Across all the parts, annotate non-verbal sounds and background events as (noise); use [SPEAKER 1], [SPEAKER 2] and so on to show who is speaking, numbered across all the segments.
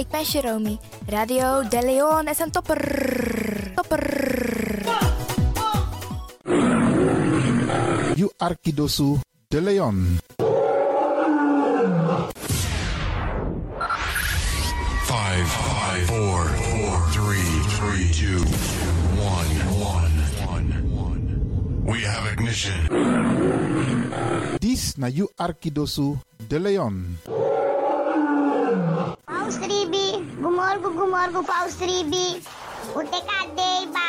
[SPEAKER 1] ik ben Jerome. Radio De Leon is een topper. Topper.
[SPEAKER 2] You Arkidosu de Leon.
[SPEAKER 3] Five, five, four, four, three, three, two, one, one, one. We have ignition.
[SPEAKER 2] This na You Arkidosu de Leon.
[SPEAKER 4] Paus Ribi, gumorgo, gumorgo, Paus Ribi. O ba?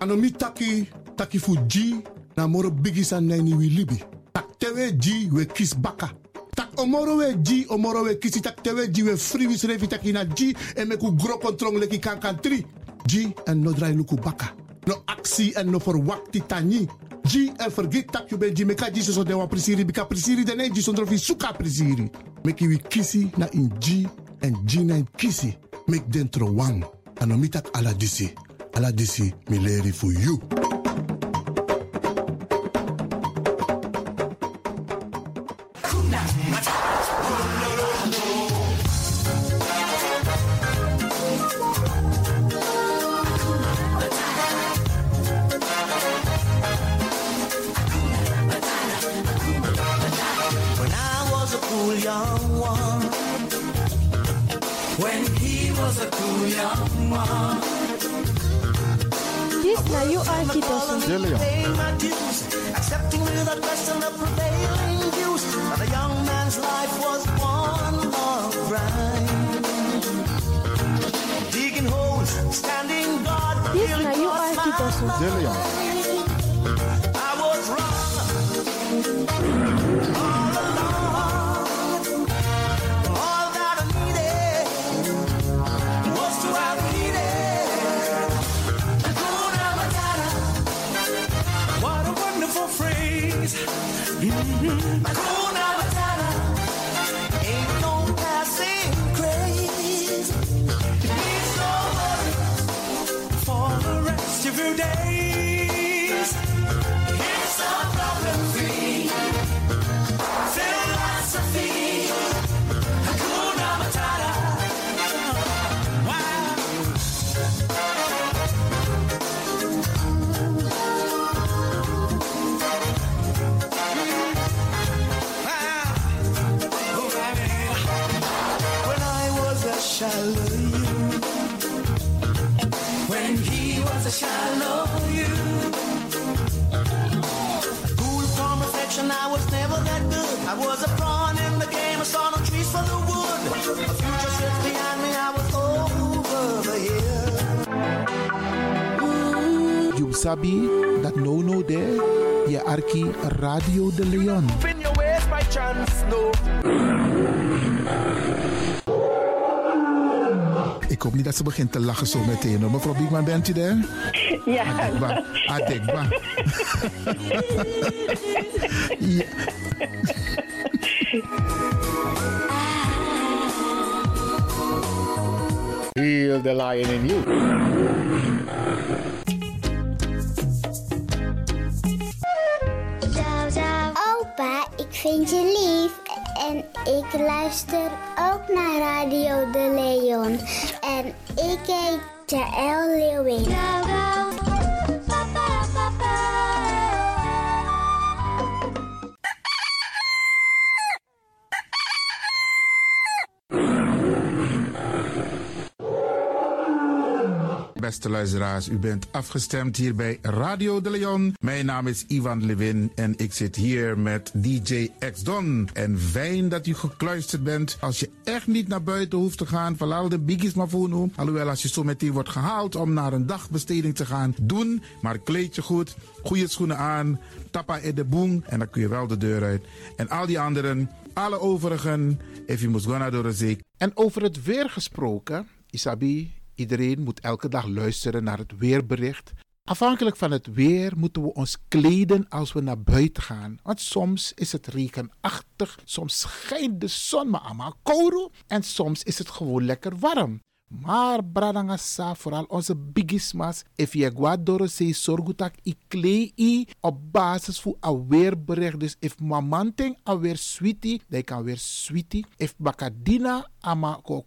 [SPEAKER 5] ano mi taki taki fu ji na moro bigi san na ni wi libi tak tewe ji we kis baka tak omoro we ji omoro we kisi tak tewe ji we wi free wis revi taki na ji e me ku gro kontrong leki kan kan tri ji en no drai luku baka no aksi en no for wakti tani ji en vergit tak you be ji meka ji so so de wa prisiri bika prisiri de ne ji sondro fi suka prisiri meki wi kisi na in ji en ji na in kisi mek dentro wang ano mi tak ala disi ala disi mi leri fu you
[SPEAKER 6] When I was a cool young one. When he was a cool young one.
[SPEAKER 7] This na you Arkidosu.
[SPEAKER 2] De Leon.
[SPEAKER 6] Paying my dues, accepting without question the prevailing views. But a young man's life was one long grind. Digging holes, standing guard,
[SPEAKER 7] This
[SPEAKER 6] feeling
[SPEAKER 7] na you
[SPEAKER 6] God's
[SPEAKER 7] Arkidosu.
[SPEAKER 2] De Leon.
[SPEAKER 6] I was wrong. All along. All that I needed was to have needed. Hakuna Matata. What a wonderful phrase. Mm-hmm. Hakuna Matata. Ain't no passing craze. It means no worry for the rest of your days. It's a problem-free philosophy. Hakuna Matata. Wow. Wow. Oh, baby. When I was a Shallow you. When he was a shallow you. Cool from reflection, I was never that good. I was a pawn in the game, I saw no trees for the wood. A future sits behind me, I was over the hill.
[SPEAKER 2] You sabi dat no no there. Je Arki Radio de Leon.
[SPEAKER 6] In your ways by chance, no.
[SPEAKER 2] Ik hoop niet dat ze begint te lachen zo meteen. hoor. Mevrouw Biekman, bent u daar?
[SPEAKER 8] Ja,
[SPEAKER 2] Adekba. Adekba. ja.
[SPEAKER 9] Heel the lion in you.
[SPEAKER 4] Zou, zou. Opa, ik vind je lief. En ik luister ook naar Radio De Leon. En ik heet Jaël Leeuwin.
[SPEAKER 2] Beste luisteraars, u bent afgestemd hier bij Radio de Leon. Mijn naam is Ivan Levin en ik zit hier met DJ X-Don. En fijn dat u gekluisterd bent. Als je echt niet naar buiten hoeft te gaan, verlaal de biggies maar voor nu. Alhoewel, als je zo meteen wordt gehaald om naar een dagbesteding te gaan, doen. Maar kleed je goed, goede schoenen aan, tappa in de boem en dan kun je wel de deur uit. En al die anderen, alle overigen, if you must go naar door de zee. En over het weer gesproken, Isabi, Iedereen moet elke dag luisteren naar het weerbericht. Afhankelijk van het weer moeten we ons kleden als we naar buiten gaan. Want soms is het regenachtig, soms schijnt de zon maar allemaal kouro en soms is het gewoon lekker warm.
[SPEAKER 8] Maar bradanga sa vooral onze bigismas. If je guadoro se sorgutak i klei i op basis voor aweerbericht. Dus if mamanting aweer sweetie, dan kan weer sweetie. If bakadina ama ko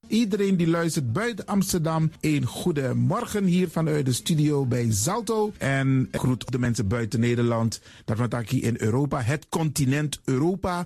[SPEAKER 2] Iedereen die luistert buiten Amsterdam, een goede morgen hier vanuit de studio bij Zalto. En ik groet de mensen buiten Nederland, dat we het hier in Europa, het continent Europa.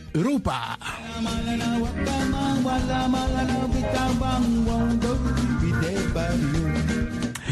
[SPEAKER 2] Europa.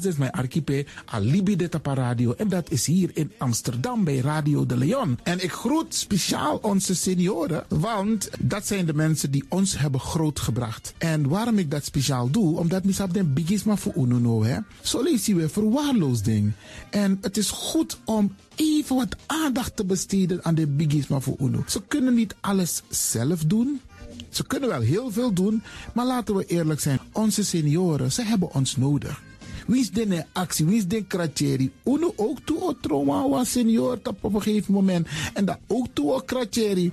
[SPEAKER 2] dus mijn archipel Alibi de Tapa Radio. En dat is hier in Amsterdam bij Radio de Leon. En ik groet speciaal onze senioren, want dat zijn de mensen die ons hebben grootgebracht. En waarom ik dat speciaal doe, omdat misap den bigisma voor ununo, hè. Zo lezen we verwaarloosding. En het is goed om even wat aandacht te besteden aan de bigisma voor uno. Ze kunnen niet alles zelf doen. Ze kunnen wel heel veel doen, maar laten we eerlijk zijn. Onze senioren, ze hebben ons nodig. Wins den actie, wins den kratjeri. Uno ook toe o trauma wa senior tap op een gegeven moment. En dat ook toe o kratjeri.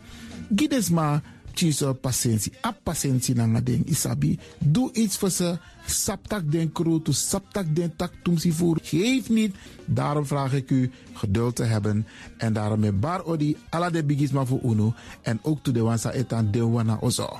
[SPEAKER 2] Gides maar, tjiso patiëntie. A patiëntie na nga ding, isabi. Doe iets voor ze. Saptak den kroto, saptak den tak tumsi voer. Geef niet. Daarom vraag ik u geduld te hebben. En daarom met bar odi, ala de bigisma voor uno. En ook toe de wansa etan de wana ozo.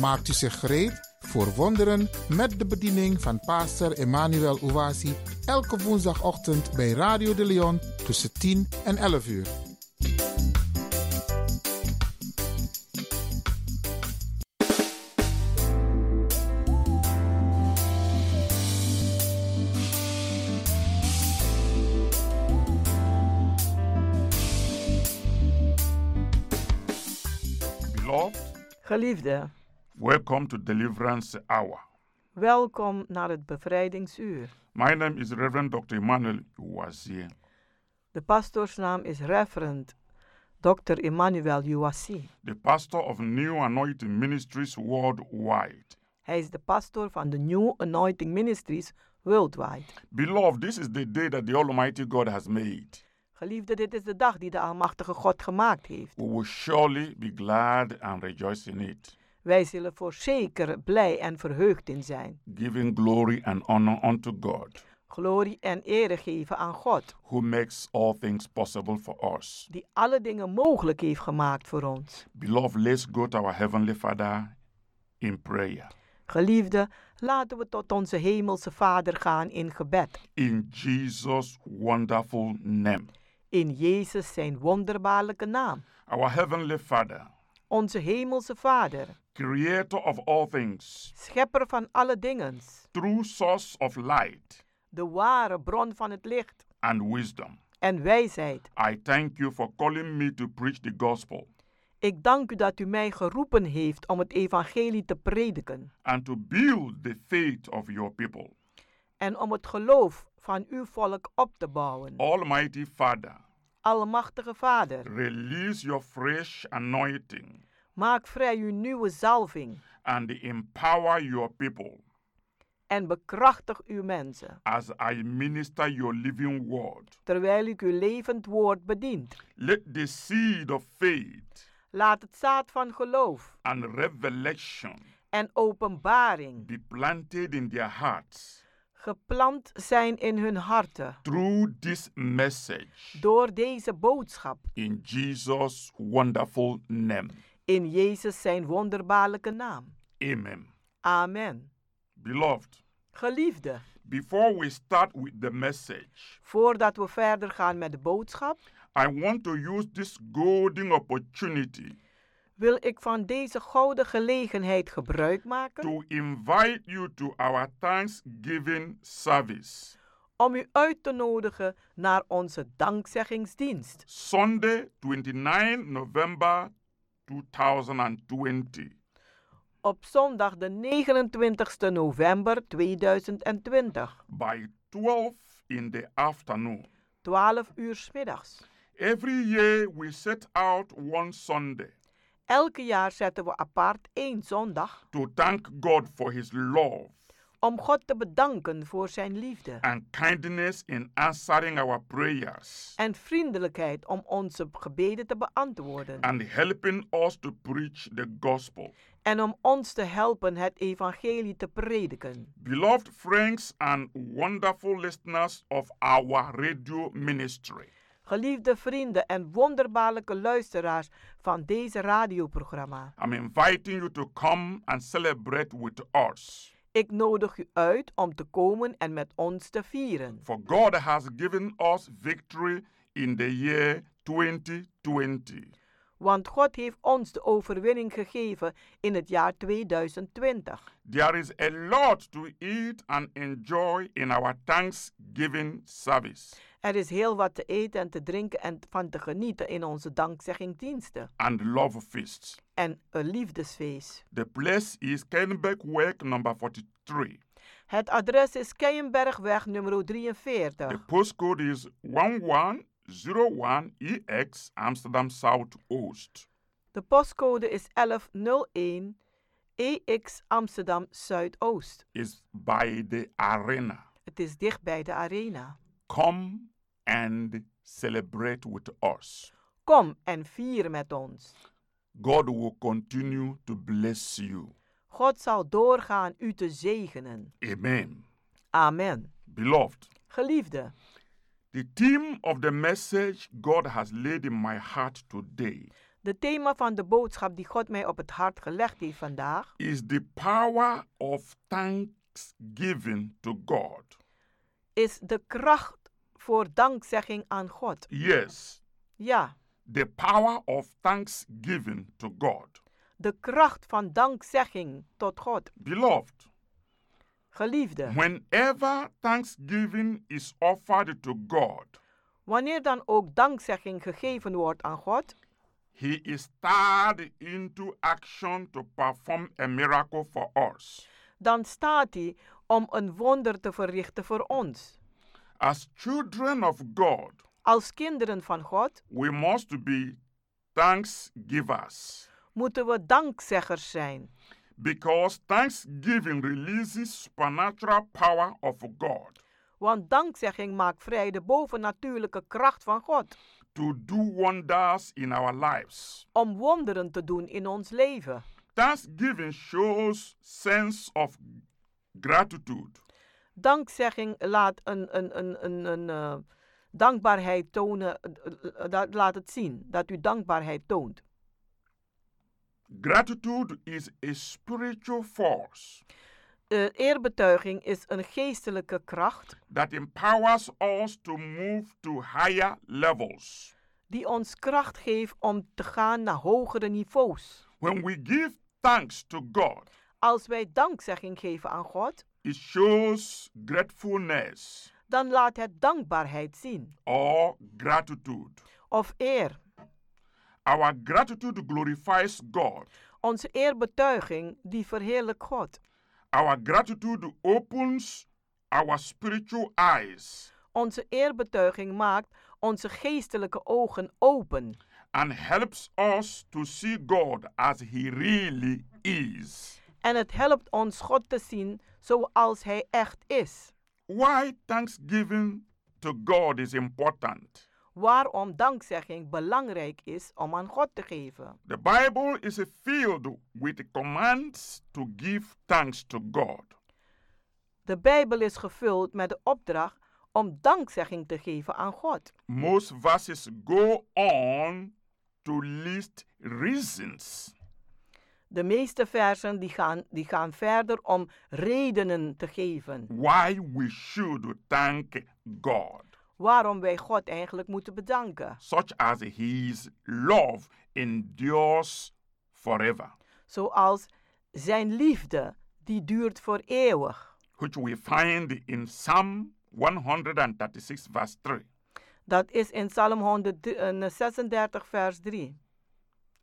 [SPEAKER 8] Maakt u zich gereed voor wonderen met de bediening van pastor Emmanuel Owasi elke woensdagochtend bij Radio de Leon tussen 10 en 11 uur.
[SPEAKER 10] Beloved,
[SPEAKER 11] Geliefde,
[SPEAKER 10] welcome to Deliverance Hour.
[SPEAKER 11] welkom naar het bevrijdingsuur.
[SPEAKER 10] My name is Reverend Dr. Emmanuel Uwazie.
[SPEAKER 11] De pastoorsnaam is Reverend Dr. Emmanuel Uwasi.
[SPEAKER 10] the pastor of New Anointing Ministries worldwide.
[SPEAKER 11] Hij is de pastoor van de New Anointing Ministries Worldwide.
[SPEAKER 10] Beloved, this is the day that the Almighty God has made.
[SPEAKER 11] Geliefde, dit is de dag die de Almachtige God gemaakt heeft.
[SPEAKER 10] We will surely be glad and rejoice in it,
[SPEAKER 11] Wij zullen voorzeker blij en verheugd in zijn.
[SPEAKER 10] giving glory and honor unto God,
[SPEAKER 11] Glorie en ere geven aan God,
[SPEAKER 10] who makes all things possible for us.
[SPEAKER 11] die alle dingen mogelijk heeft gemaakt voor ons.
[SPEAKER 10] Beloved, let's go to our Heavenly Father in prayer.
[SPEAKER 11] Geliefde, laten we tot onze Hemelse Vader gaan in gebed.
[SPEAKER 10] In Jesus' wonderful name.
[SPEAKER 11] In Jezus zijn wonderbaarlijke naam.
[SPEAKER 10] Our Heavenly Father,
[SPEAKER 11] Onze Hemelse Vader,
[SPEAKER 10] Creator of all things,
[SPEAKER 11] Schepper van alle dingen,
[SPEAKER 10] true source of light
[SPEAKER 11] de ware bron van het licht
[SPEAKER 10] and wisdom,
[SPEAKER 11] en wijsheid.
[SPEAKER 10] I thank you for calling me to preach the gospel
[SPEAKER 11] Ik dank u dat u mij geroepen heeft om het evangelie te prediken
[SPEAKER 10] and to build the faith of your people.
[SPEAKER 11] en om het geloof van uw volk op te bouwen.
[SPEAKER 10] Almighty Father,
[SPEAKER 11] Almachtige Vader,
[SPEAKER 10] release your fresh anointing
[SPEAKER 11] maak vrij uw nieuwe zalving
[SPEAKER 10] and empower your people
[SPEAKER 11] en bekrachtig uw mensen,
[SPEAKER 10] as I minister your living word.
[SPEAKER 11] terwijl ik uw levend woord bedient.
[SPEAKER 10] Let the seed of faith
[SPEAKER 11] Laat het zaad van geloof
[SPEAKER 10] and revelation
[SPEAKER 11] en openbaring
[SPEAKER 10] be planted in their hearts
[SPEAKER 11] geplant zijn in hun harten
[SPEAKER 10] through this message
[SPEAKER 11] door deze boodschap.
[SPEAKER 10] in Jesus' wonderful name.
[SPEAKER 11] In Jezus zijn wonderbaarlijke naam.
[SPEAKER 10] Amen.
[SPEAKER 11] Amen.
[SPEAKER 10] Beloved,
[SPEAKER 11] Geliefde,
[SPEAKER 10] before we start with the message,
[SPEAKER 11] voordat we verder gaan met de boodschap,
[SPEAKER 10] I want to use this golden opportunity
[SPEAKER 11] wil ik van deze gouden gelegenheid gebruik maken
[SPEAKER 10] to invite you to our Thanksgiving service,
[SPEAKER 11] om u uit te nodigen naar onze dankzeggingsdienst.
[SPEAKER 10] Sunday, 29 November 2020.
[SPEAKER 11] Op zondag de 29 november 2020,
[SPEAKER 10] by 12 in the afternoon.
[SPEAKER 11] 12 uur 's middags.
[SPEAKER 10] Every year we set out one Sunday
[SPEAKER 11] Elke jaar zetten we apart één zondag
[SPEAKER 10] to thank God for his love
[SPEAKER 11] om God te bedanken voor zijn liefde
[SPEAKER 10] and kindness in answering our prayers
[SPEAKER 11] en vriendelijkheid om onze gebeden te beantwoorden
[SPEAKER 10] and helping us to preach the gospel.
[SPEAKER 11] en om ons te helpen het evangelie te prediken.
[SPEAKER 10] Beloved friends and wonderful listeners of our radio ministry,
[SPEAKER 11] Geliefde vrienden en wonderbaarlijke luisteraars van deze radioprogramma,
[SPEAKER 10] I'm inviting you to come and celebrate with us.
[SPEAKER 11] ik nodig u uit om te komen en met ons te vieren.
[SPEAKER 10] For God has given us victory in the year 2020.
[SPEAKER 11] Want God heeft ons de overwinning gegeven in het jaar 2020.
[SPEAKER 10] There is a lot to eat and enjoy in our Thanksgiving service.
[SPEAKER 11] Er is heel wat te eten en te drinken en van te genieten in onze dankzeggingdiensten
[SPEAKER 10] and love feasts.
[SPEAKER 11] en een liefdesfeest.
[SPEAKER 10] The place is Kennebec Work number 43.
[SPEAKER 11] Het adres is Keienbergweg nummer
[SPEAKER 10] The
[SPEAKER 11] 43.
[SPEAKER 10] postcode is 1101EX E Amsterdam South Oost.
[SPEAKER 11] De postcode is 1101 EX E Amsterdam Zuidoost.
[SPEAKER 10] It's by the arena.
[SPEAKER 11] Het is dicht bij de arena.
[SPEAKER 10] Come and celebrate with us.
[SPEAKER 11] Kom en vier met ons.
[SPEAKER 10] God will continue to bless you.
[SPEAKER 11] God zal doorgaan u te zegenen.
[SPEAKER 10] Amen.
[SPEAKER 11] Amen.
[SPEAKER 10] Beloved,
[SPEAKER 11] Geliefde,
[SPEAKER 10] the theme of the message God has laid in my heart today
[SPEAKER 11] de thema van de boodschap die God mij op het hart gelegd heeft vandaag
[SPEAKER 10] is the power of thanksgiving to God.
[SPEAKER 11] is de kracht voor dankzegging aan God.
[SPEAKER 10] Yes,
[SPEAKER 11] Ja,
[SPEAKER 10] the power of thanksgiving to God.
[SPEAKER 11] de kracht van dankzegging tot God.
[SPEAKER 10] Beloved,
[SPEAKER 11] Geliefde,
[SPEAKER 10] whenever thanksgiving is offered to God,
[SPEAKER 11] wanneer dan ook dankzegging gegeven wordt aan God,
[SPEAKER 10] He is stirred into action to perform a miracle for us.
[SPEAKER 11] dan staat hij om een wonder te verrichten voor ons.
[SPEAKER 10] As children of God,
[SPEAKER 11] Als kinderen van God
[SPEAKER 10] we must be thanksgivers
[SPEAKER 11] moeten we dankzeggers zijn,
[SPEAKER 10] because thanksgiving releases supernatural power of God
[SPEAKER 11] want dankzegging maakt vrij de bovennatuurlijke kracht van God
[SPEAKER 10] to do wonders in our lives.
[SPEAKER 11] om wonderen te doen in ons leven.
[SPEAKER 10] Thanksgiving shows sense of gratitude.
[SPEAKER 11] Dankzegging laat een, een, een, een, een eh, dankbaarheid tonen, eh, eh, dat laat het zien dat u dankbaarheid toont.
[SPEAKER 10] Gratitude is a spiritual force
[SPEAKER 11] Eh, eerbetuiging is een geestelijke kracht
[SPEAKER 10] that empowers us to move to higher levels.
[SPEAKER 11] die ons kracht geeft om te gaan naar hogere niveaus.
[SPEAKER 10] When we give thanks to God,
[SPEAKER 11] Als wij dankzegging geven aan God,
[SPEAKER 10] it shows gratefulness
[SPEAKER 11] dan laat het dankbaarheid zien
[SPEAKER 10] or gratitude.
[SPEAKER 11] of eer.
[SPEAKER 10] Our gratitude glorifies God.
[SPEAKER 11] Onze eerbetuiging die verheerlijkt God.
[SPEAKER 10] Our gratitude opens our spiritual eyes
[SPEAKER 11] Onze eerbetuiging maakt onze geestelijke ogen open
[SPEAKER 10] and helps us to see God as He really is.
[SPEAKER 11] en het helpt ons God te zien zoals Hij echt is.
[SPEAKER 10] Why thanksgiving to God is important.
[SPEAKER 11] Waarom dankzegging belangrijk is om aan God te geven.
[SPEAKER 10] The Bible is filled with commands to give thanks to God.
[SPEAKER 11] De Bijbel is gevuld met de opdracht om dankzegging te geven aan God.
[SPEAKER 10] most verses go on to list reasons
[SPEAKER 11] De meeste versen die gaan, die gaan verder om redenen te geven
[SPEAKER 10] why we should thank God,
[SPEAKER 11] waarom wij God eigenlijk moeten bedanken.
[SPEAKER 10] such as His love endures forever,
[SPEAKER 11] Zoals zijn liefde, die duurt voor eeuwig.
[SPEAKER 10] which we find in Psalm 136, verse 3.
[SPEAKER 11] Dat is in Psalm 136, vers 3.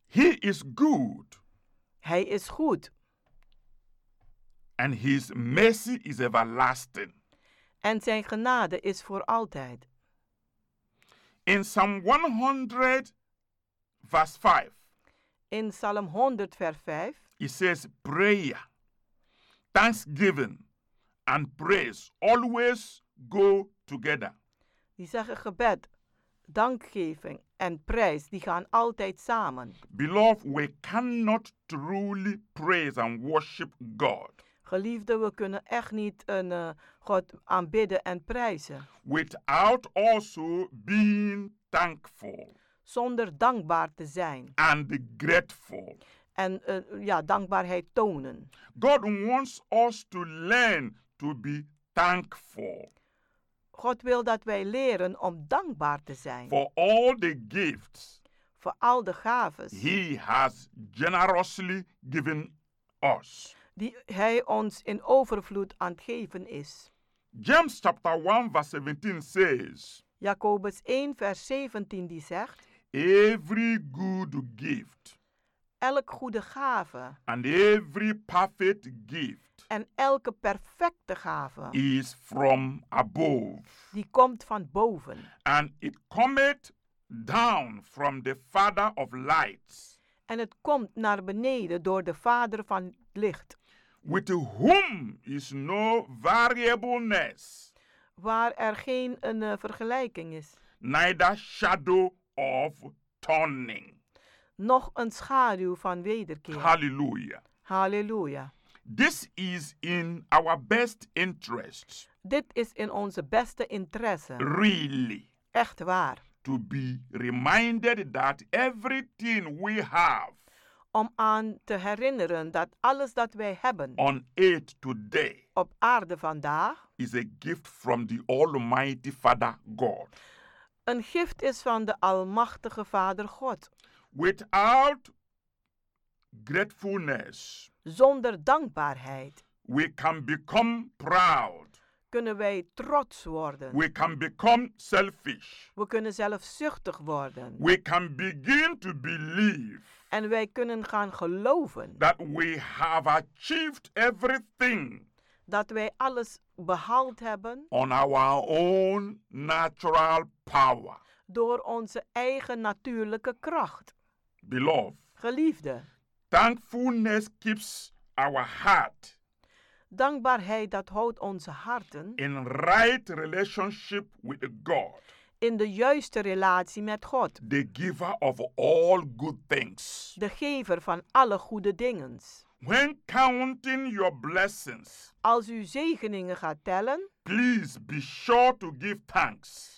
[SPEAKER 10] He is good,
[SPEAKER 11] Hij is goed
[SPEAKER 10] and His mercy is everlasting.
[SPEAKER 11] en zijn genade is voor altijd.
[SPEAKER 10] In Psalm 100, verse 5,
[SPEAKER 11] In Psalm 100, vers 5.
[SPEAKER 10] It says prayer, thanksgiving, and praise always go together.
[SPEAKER 11] Die zeggen gebed, dankgeving en prijs, die gaan altijd samen.
[SPEAKER 10] Beloved, we cannot truly praise and worship God
[SPEAKER 11] Geliefde, we kunnen echt niet een, eh, God aanbidden en prijzen
[SPEAKER 10] without also being thankful
[SPEAKER 11] zonder dankbaar te zijn
[SPEAKER 10] and grateful.
[SPEAKER 11] en eh, ja, dankbaarheid tonen.
[SPEAKER 10] God wants us to learn to be thankful
[SPEAKER 11] God wil dat wij leren om dankbaar te zijn
[SPEAKER 10] for all the gifts
[SPEAKER 11] voor al de gaves
[SPEAKER 10] He has generously given us.
[SPEAKER 11] die Hij ons in overvloed aan het geven is.
[SPEAKER 10] James chapter 1 verse 17 says,
[SPEAKER 11] Jacobus 1, vers 17 die zegt,
[SPEAKER 10] every good gift
[SPEAKER 11] elk goede gave
[SPEAKER 10] and every perfect gift
[SPEAKER 11] en elke perfecte gave,
[SPEAKER 10] is from above
[SPEAKER 11] die komt van boven
[SPEAKER 10] and it cometh down from the father of lights
[SPEAKER 11] en het komt naar beneden door de Vader van het licht,
[SPEAKER 10] with whom is no variableness
[SPEAKER 11] waar er geen een, eh, vergelijking is,
[SPEAKER 10] neither shadow of turning
[SPEAKER 11] nog een schaduw van wederkeer.
[SPEAKER 10] Hallelujah.
[SPEAKER 11] Halleluja.
[SPEAKER 10] This is in our best interest,
[SPEAKER 11] Dit is in onze beste interesse.
[SPEAKER 10] really,
[SPEAKER 11] Echt waar.
[SPEAKER 10] to be reminded that everything we have
[SPEAKER 11] Om aan te herinneren dat alles dat wij hebben
[SPEAKER 10] on earth today
[SPEAKER 11] op aarde vandaag
[SPEAKER 10] is a gift from the Almighty Father God.
[SPEAKER 11] een gift is van de Almachtige Vader God.
[SPEAKER 10] Without gratefulness,
[SPEAKER 11] Zonder dankbaarheid
[SPEAKER 10] we can become proud,
[SPEAKER 11] kunnen wij trots worden.
[SPEAKER 10] we can become selfish,
[SPEAKER 11] We kunnen zelfzuchtig worden.
[SPEAKER 10] we can begin to believe
[SPEAKER 11] En wij kunnen gaan geloven
[SPEAKER 10] that we have achieved everything
[SPEAKER 11] dat wij alles behaald hebben
[SPEAKER 10] on our own natural power.
[SPEAKER 11] door onze eigen natuurlijke kracht.
[SPEAKER 10] Beloved,
[SPEAKER 11] Geliefde,
[SPEAKER 10] thankfulness keeps our heart
[SPEAKER 11] dankbaarheid dat houdt onze harten
[SPEAKER 10] in right relationship with God,
[SPEAKER 11] in de juiste relatie met God,
[SPEAKER 10] the giver of all good things.
[SPEAKER 11] de gever van alle goede dingen.
[SPEAKER 10] When counting your blessings,
[SPEAKER 11] Als u zegeningen gaat tellen,
[SPEAKER 10] please be sure to give thanks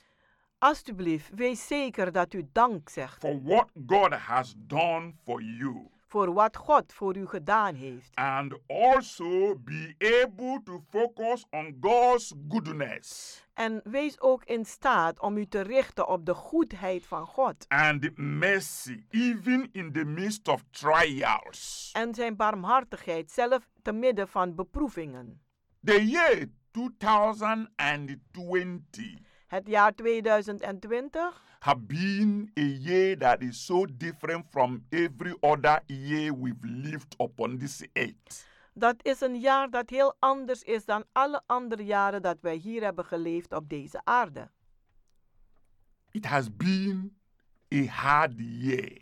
[SPEAKER 11] alstublieft, wees zeker dat u dank zegt
[SPEAKER 10] for what God has done for you
[SPEAKER 11] voor wat God voor u gedaan heeft.
[SPEAKER 10] and also be able to focus on God's goodness
[SPEAKER 11] En wees ook in staat om u te richten op de goedheid van God
[SPEAKER 10] and mercy even in the midst of trials.
[SPEAKER 11] en zijn barmhartigheid zelf te midden van beproevingen.
[SPEAKER 10] The year 2020
[SPEAKER 11] Het jaar 2020
[SPEAKER 10] have been a year that is so different from every other year we've lived upon this earth.
[SPEAKER 11] Dat is een jaar dat heel anders is dan alle andere jaren dat wij hier hebben geleefd op deze aarde.
[SPEAKER 10] It has been a hard year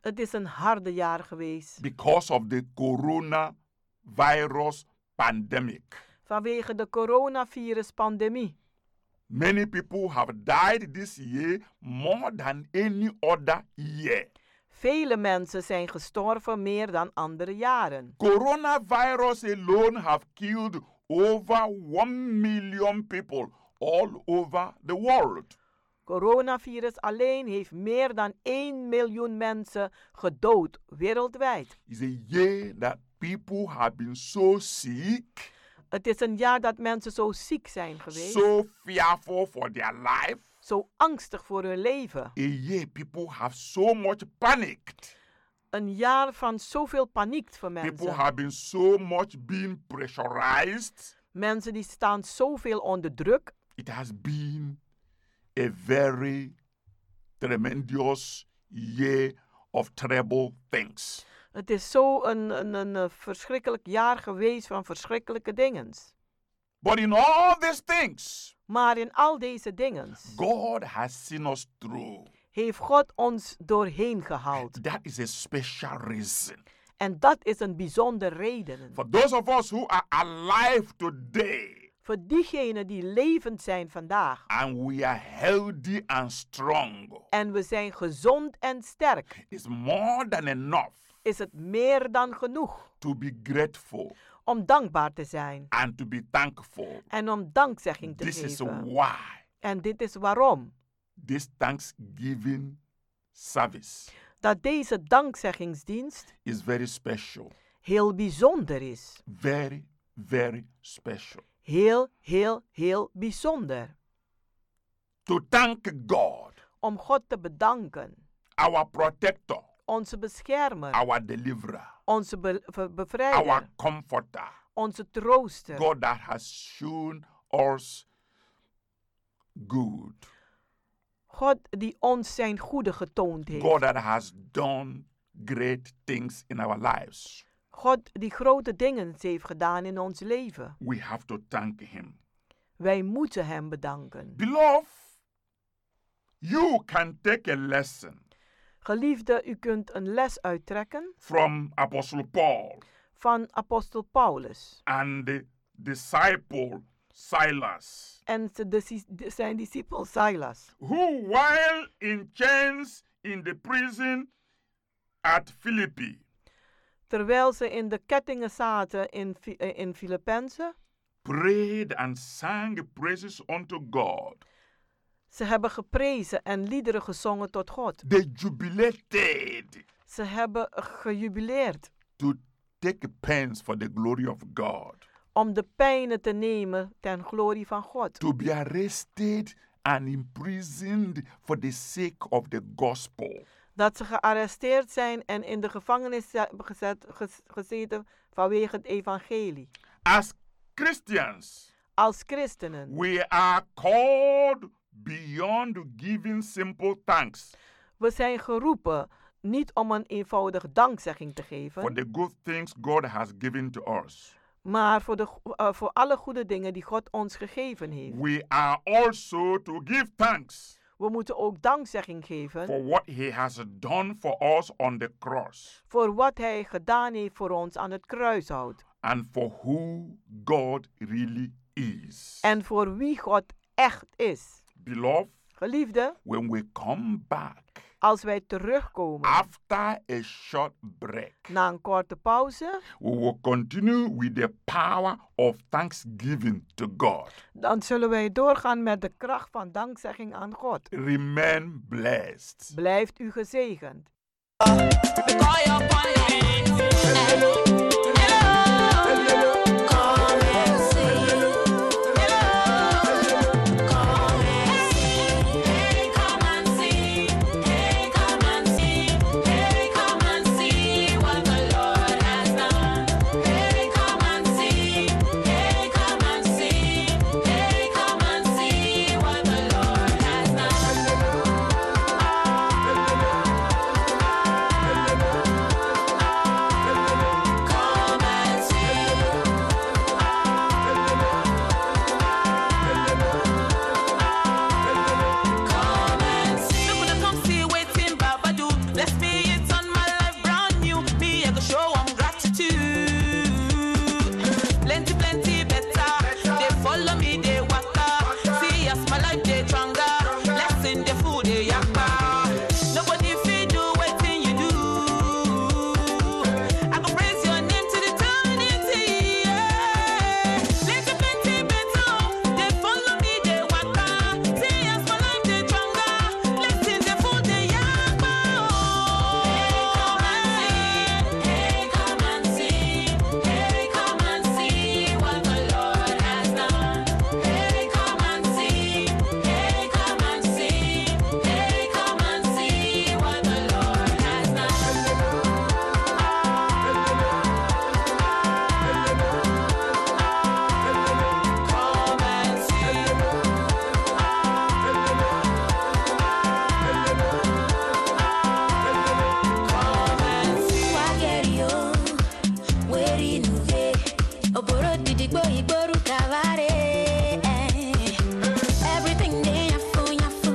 [SPEAKER 11] Het is een harde jaar geweest
[SPEAKER 10] because of the coronavirus pandemic.
[SPEAKER 11] vanwege de coronavirus-pandemie.
[SPEAKER 10] Many people have died this year more than any other year.
[SPEAKER 11] Vele mensen zijn gestorven meer dan andere jaren.
[SPEAKER 10] Coronavirus alone have killed over 1 million people all over the world.
[SPEAKER 11] Coronavirus alleen heeft meer dan 1 miljoen mensen gedood wereldwijd.
[SPEAKER 10] It's a year that people have been so sick,
[SPEAKER 11] Het is een jaar dat mensen zo ziek zijn geweest,
[SPEAKER 10] so fearful for their life.
[SPEAKER 11] zo angstig voor hun leven.
[SPEAKER 10] A year people have so much panicked.
[SPEAKER 11] Een jaar van zoveel paniek voor
[SPEAKER 10] People
[SPEAKER 11] mensen.
[SPEAKER 10] have been so much being pressurized.
[SPEAKER 11] Mensen die staan zoveel onder druk.
[SPEAKER 10] It has been a very tremendous year of terrible things.
[SPEAKER 11] Het is zo een, een, een eh, verschrikkelijk jaar geweest van verschrikkelijke dingen.
[SPEAKER 10] But in all these things,
[SPEAKER 11] Maar in al deze dingen
[SPEAKER 10] God has seen us through.
[SPEAKER 11] heeft God ons doorheen gehaald.
[SPEAKER 10] That is a special reason.
[SPEAKER 11] En dat is een bijzondere reden.
[SPEAKER 10] For those of us who are alive today
[SPEAKER 11] Voor diegenen die levend zijn vandaag.
[SPEAKER 10] and we are healthy and strong,
[SPEAKER 11] En we zijn gezond en sterk.
[SPEAKER 10] it's more than enough
[SPEAKER 11] Is het meer dan genoeg
[SPEAKER 10] to be grateful
[SPEAKER 11] om dankbaar te zijn.
[SPEAKER 10] and to be thankful.
[SPEAKER 11] En om dankzegging te
[SPEAKER 10] This is
[SPEAKER 11] geven.
[SPEAKER 10] why
[SPEAKER 11] En dit is waarom.
[SPEAKER 10] this Thanksgiving service
[SPEAKER 11] Dat deze dankzeggingsdienst
[SPEAKER 10] is very special.
[SPEAKER 11] heel bijzonder is.
[SPEAKER 10] Very, very special.
[SPEAKER 11] Heel, heel, heel bijzonder.
[SPEAKER 10] To thank God,
[SPEAKER 11] Om God te bedanken.
[SPEAKER 10] our protector,
[SPEAKER 11] Onze beschermer.
[SPEAKER 10] our deliverer,
[SPEAKER 11] Onze be- be-
[SPEAKER 10] our
[SPEAKER 11] bevrijder.
[SPEAKER 10] comforter,
[SPEAKER 11] Onze trooster.
[SPEAKER 10] God that has shown us good,
[SPEAKER 11] God die ons zijn goede getoond
[SPEAKER 10] God
[SPEAKER 11] heeft.
[SPEAKER 10] that has done great things in our lives.
[SPEAKER 11] God die grote dingen heeft gedaan in ons leven.
[SPEAKER 10] We have to thank Him.
[SPEAKER 11] Wij moeten Hem bedanken.
[SPEAKER 10] Beloved, you can take a lesson
[SPEAKER 11] Geliefde, u kunt een les uittrekken
[SPEAKER 10] from Apostle Paul
[SPEAKER 11] van apostel Paulus
[SPEAKER 10] and the disciple Silas,
[SPEAKER 11] en z- de si- de- zijn discipel Silas,
[SPEAKER 10] who, while in chains in the prison, at Philippi.
[SPEAKER 11] Terwijl ze in de kettingen zaten in, Fi- eh, in Filippenzen,
[SPEAKER 10] prayed and sang praises unto God.
[SPEAKER 11] ze hebben geprezen en liederen gezongen tot God.
[SPEAKER 10] They jubilated
[SPEAKER 11] Ze hebben gejubileerd
[SPEAKER 10] to take pains for the glory of God,
[SPEAKER 11] om de pijnen te nemen ten glorie van God.
[SPEAKER 10] to be arrested and imprisoned for the sake of the gospel.
[SPEAKER 11] Dat ze gearresteerd zijn en in de gevangenis ze- hebben gezet, ges- gezeten vanwege het evangelie.
[SPEAKER 10] As Christians,
[SPEAKER 11] Als christenen
[SPEAKER 10] we are called beyond giving simple thanks
[SPEAKER 11] We zijn geroepen niet om een eenvoudige dankzegging te
[SPEAKER 10] for
[SPEAKER 11] geven,
[SPEAKER 10] the good things God has given to us.
[SPEAKER 11] maar voor, de, go- eh, voor alle goede dingen die God ons gegeven heeft.
[SPEAKER 10] We are also to give thanks
[SPEAKER 11] We moeten ook dankzegging geven
[SPEAKER 10] for what He has done for us on the cross
[SPEAKER 11] voor wat Hij gedaan heeft voor ons aan het kruishout
[SPEAKER 10] and for who God really is.
[SPEAKER 11] en voor wie God echt is.
[SPEAKER 10] Beloved,
[SPEAKER 11] Geliefde,
[SPEAKER 10] when we come back
[SPEAKER 11] als wij terugkomen
[SPEAKER 10] after a short break,
[SPEAKER 11] na een korte pauze,
[SPEAKER 10] we will continue with the power of thanksgiving to God.
[SPEAKER 11] dan zullen wij doorgaan met de kracht van dankzegging aan God.
[SPEAKER 10] Remain blessed.
[SPEAKER 11] Blijft u gezegend.
[SPEAKER 6] Plenty, plenty better. They follow me, they waka. See us, my life, they stronger. Blessing the food, they yakpa. Nobody feed do wetin you do. I go praise your name to the eternity. Yeah. Plenty, plenty better. They follow me, they waka. See us, my life, they stronger. Blessing the food, they yakpa. Hey, come and see. Hey, come and see what the Lord has done. Hey, come and see. Hey, come and see. Hey, come and see what the Lord has done. Come and see.
[SPEAKER 1] wá kẹ́rì ó wẹ́rì nùwé òbòrò dìdìgbò ìgbòrú kàwárẹ̀. Everything dey yafo yafo,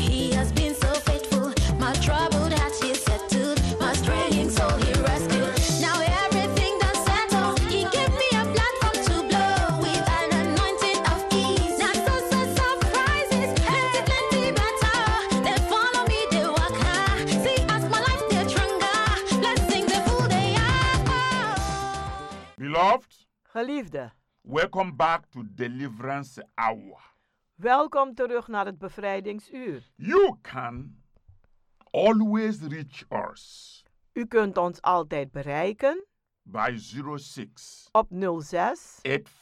[SPEAKER 1] he has been so faithful. My troubled heart he settled, my straying soul he rescued. Now everything done settle, he gave me a platform to blow with an anointing of ease. Now so so surprises, plenty plenty better. They follow me, they walk high. See as my life dey stronger, blessing the food they are.
[SPEAKER 10] Beloved,
[SPEAKER 11] Geliefde,
[SPEAKER 10] welcome back to Deliverance Hour.
[SPEAKER 11] welkom terug naar het bevrijdingsuur.
[SPEAKER 10] You can always reach us
[SPEAKER 11] U kunt ons altijd bereiken
[SPEAKER 10] by 06
[SPEAKER 11] op 06
[SPEAKER 10] 84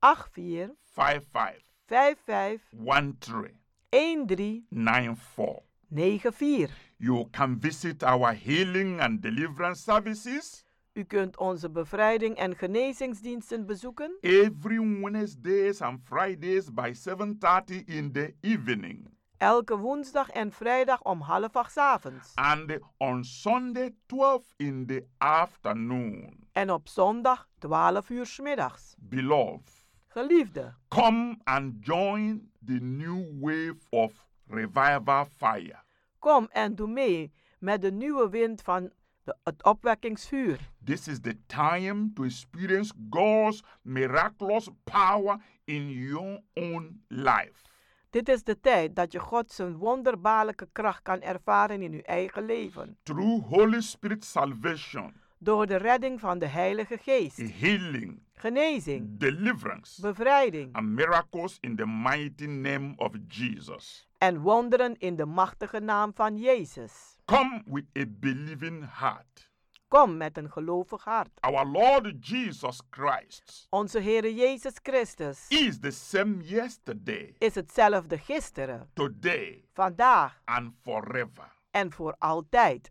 [SPEAKER 11] 84
[SPEAKER 10] 55
[SPEAKER 11] 55
[SPEAKER 10] 13
[SPEAKER 11] 13
[SPEAKER 10] 94.
[SPEAKER 11] 94.
[SPEAKER 10] You can visit our healing and deliverance services
[SPEAKER 11] U kunt onze bevrijding en genezingsdiensten bezoeken
[SPEAKER 10] every Wednesdays and Fridays by 7:30 in the evening
[SPEAKER 11] elke woensdag en vrijdag om half acht 's avonds
[SPEAKER 10] and on Sunday 12 in the afternoon.
[SPEAKER 11] en op zondag 12 uur 's middags.
[SPEAKER 10] Beloved,
[SPEAKER 11] Geliefde,
[SPEAKER 10] come and join the new wave of revival fire.
[SPEAKER 11] kom en doe mee met de nieuwe wind van de, het opwekkingsvuur.
[SPEAKER 10] This is the time to experience God's miraculous power in your own life.
[SPEAKER 11] Dit is de tijd dat je God zijn wonderbaarlijke kracht kan ervaren in uw eigen leven.
[SPEAKER 10] through Holy Spirit salvation,
[SPEAKER 11] Door de redding van de Heilige
[SPEAKER 10] Mm.
[SPEAKER 11] Geest,
[SPEAKER 10] healing, Mm.
[SPEAKER 11] genezing,
[SPEAKER 10] deliverance,
[SPEAKER 11] bevrijding
[SPEAKER 10] and miracles in the mighty name of Jesus.
[SPEAKER 11] en wonderen in de machtige naam van Jezus.
[SPEAKER 10] Come with a believing heart.
[SPEAKER 11] Kom met een gelovig hart.
[SPEAKER 10] Our Lord Jesus Christ
[SPEAKER 11] Onze Heere Jezus Christus
[SPEAKER 10] is the same yesterday,
[SPEAKER 11] is hetzelfde gisteren,
[SPEAKER 10] today,
[SPEAKER 11] vandaag
[SPEAKER 10] and forever.
[SPEAKER 11] en voor altijd.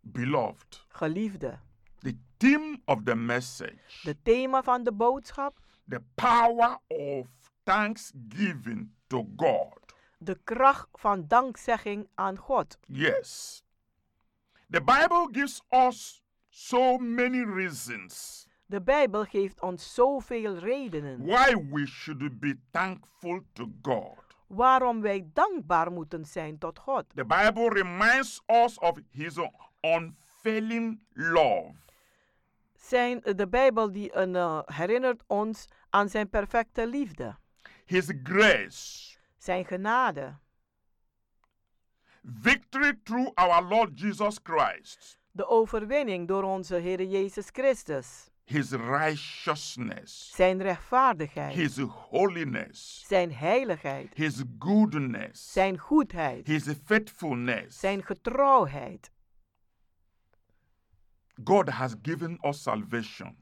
[SPEAKER 10] Beloved,
[SPEAKER 11] Geliefde,
[SPEAKER 10] the theme of the message,
[SPEAKER 11] de thema van de boodschap,
[SPEAKER 10] the power of thanksgiving to God.
[SPEAKER 11] de kracht van dankzegging aan God.
[SPEAKER 10] Yes. The Bible gives us so many reasons
[SPEAKER 11] De Bijbel geeft ons zoveel redenen
[SPEAKER 10] why we should be thankful to God.
[SPEAKER 11] waarom wij dankbaar moeten zijn tot God.
[SPEAKER 10] The Bible reminds us of his unfailing love.
[SPEAKER 11] Zijn de Bijbel die een, eh, herinnert ons aan zijn perfecte liefde,
[SPEAKER 10] His grace,
[SPEAKER 11] zijn genade,
[SPEAKER 10] victory through our Lord Jesus Christ,
[SPEAKER 11] de overwinning door onze Heer Jezus Christus,
[SPEAKER 10] His righteousness,
[SPEAKER 11] zijn rechtvaardigheid,
[SPEAKER 10] His holiness,
[SPEAKER 11] zijn heiligheid,
[SPEAKER 10] His goodness,
[SPEAKER 11] zijn goedheid,
[SPEAKER 10] His faithfulness.
[SPEAKER 11] zijn getrouwheid.
[SPEAKER 10] God has given us salvation.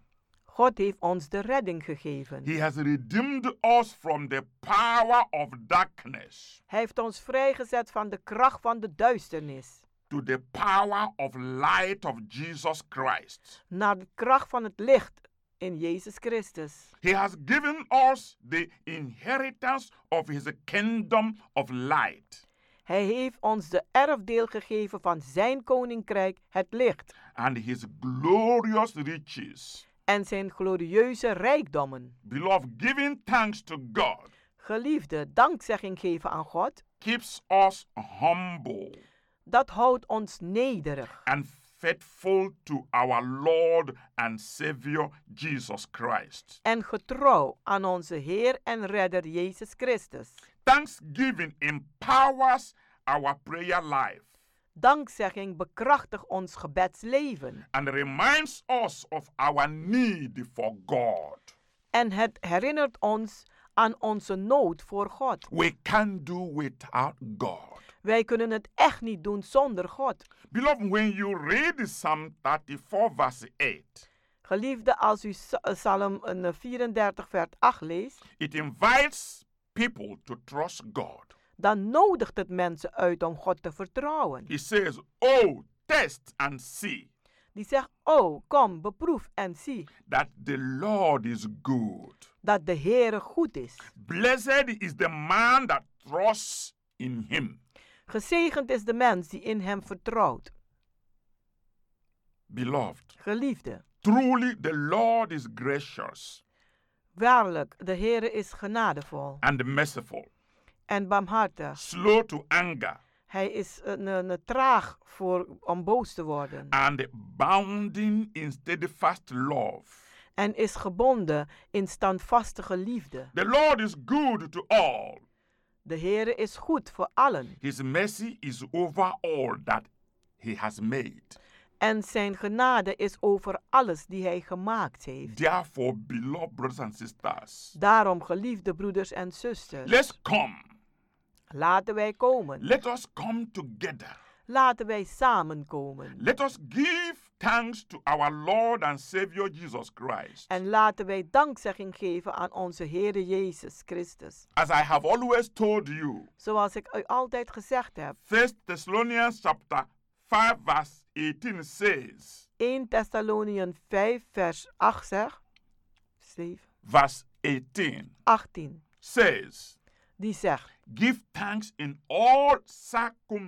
[SPEAKER 11] God heeft ons de redding gegeven.
[SPEAKER 10] He has redeemed us from the power of darkness
[SPEAKER 11] Hij heeft ons vrijgezet van de kracht van de duisternis
[SPEAKER 10] to the power of light of Jesus Christ.
[SPEAKER 11] naar de kracht van het licht in Jezus Christus.
[SPEAKER 10] He has given us the inheritance of his kingdom of light.
[SPEAKER 11] Hij heeft ons de erfdeel gegeven van zijn koninkrijk, het licht,
[SPEAKER 10] and his glorious riches.
[SPEAKER 11] en zijn glorieuze rijkdommen.
[SPEAKER 10] Beloved, giving thanks to God
[SPEAKER 11] Geliefde, dankzegging geven aan God,
[SPEAKER 10] keeps us humble
[SPEAKER 11] dat houdt ons nederig
[SPEAKER 10] and faithful to our Lord and Savior Jesus Christ.
[SPEAKER 11] en getrouw aan onze Heer en Redder Jezus Christus.
[SPEAKER 10] Thanksgiving empowers our prayer life
[SPEAKER 11] Dankzegging bekrachtigt ons gebedsleven
[SPEAKER 10] and reminds us of our need for God.
[SPEAKER 11] en het herinnert ons aan onze nood voor God.
[SPEAKER 10] We can do without God.
[SPEAKER 11] Wij kunnen het echt niet doen zonder God.
[SPEAKER 10] Beloved, when you read Psalm 34, verse 8,
[SPEAKER 11] Geliefde, als u Sa- eh, Psalm eh, 34, vers 8 leest,
[SPEAKER 10] It invites people to trust God.
[SPEAKER 11] dan nodigt het mensen uit om God te vertrouwen.
[SPEAKER 10] He says, Oh, test and see
[SPEAKER 11] Die zegt, oh, kom, beproef en zie
[SPEAKER 10] that the Lord is good.
[SPEAKER 11] dat de Heere goed is.
[SPEAKER 10] Blessed is the man that trusts in him.
[SPEAKER 11] Gezegend is de mens die in hem vertrouwt.
[SPEAKER 10] Beloved,
[SPEAKER 11] Geliefde,
[SPEAKER 10] truly the Lord is gracious
[SPEAKER 11] waarlijk, de Heere is genadevol
[SPEAKER 10] and merciful,
[SPEAKER 11] en barmhartig.
[SPEAKER 10] slow to anger,
[SPEAKER 11] Hij is een, een, een traag voor, om boos te worden
[SPEAKER 10] and bounding in steadfast love.
[SPEAKER 11] en is gebonden in standvastige liefde.
[SPEAKER 10] The Lord is good to all.
[SPEAKER 11] De Heere is goed voor allen
[SPEAKER 10] His mercy is over all that he has made.
[SPEAKER 11] en zijn genade is over alles die hij gemaakt heeft.
[SPEAKER 10] Therefore, beloved brothers and sisters,
[SPEAKER 11] Daarom, geliefde broeders en zusters,
[SPEAKER 10] let's come.
[SPEAKER 11] laten wij komen.
[SPEAKER 10] Let us come together.
[SPEAKER 11] Laten wij samenkomen.
[SPEAKER 10] Let us give thanks to our Lord and Savior Jesus Christ.
[SPEAKER 11] En laten wij dankzegging geven aan onze Heere Jezus Christus.
[SPEAKER 10] As I have always told you,
[SPEAKER 11] Zoals ik u altijd gezegd heb,
[SPEAKER 10] 1 Thessalonians chapter 5 verse 18 says,
[SPEAKER 11] 1 Thessaloniën 5, vers 8 zegt, 7,
[SPEAKER 10] verse 18
[SPEAKER 11] 18,
[SPEAKER 10] says,
[SPEAKER 11] die zegt,
[SPEAKER 10] give thanks in all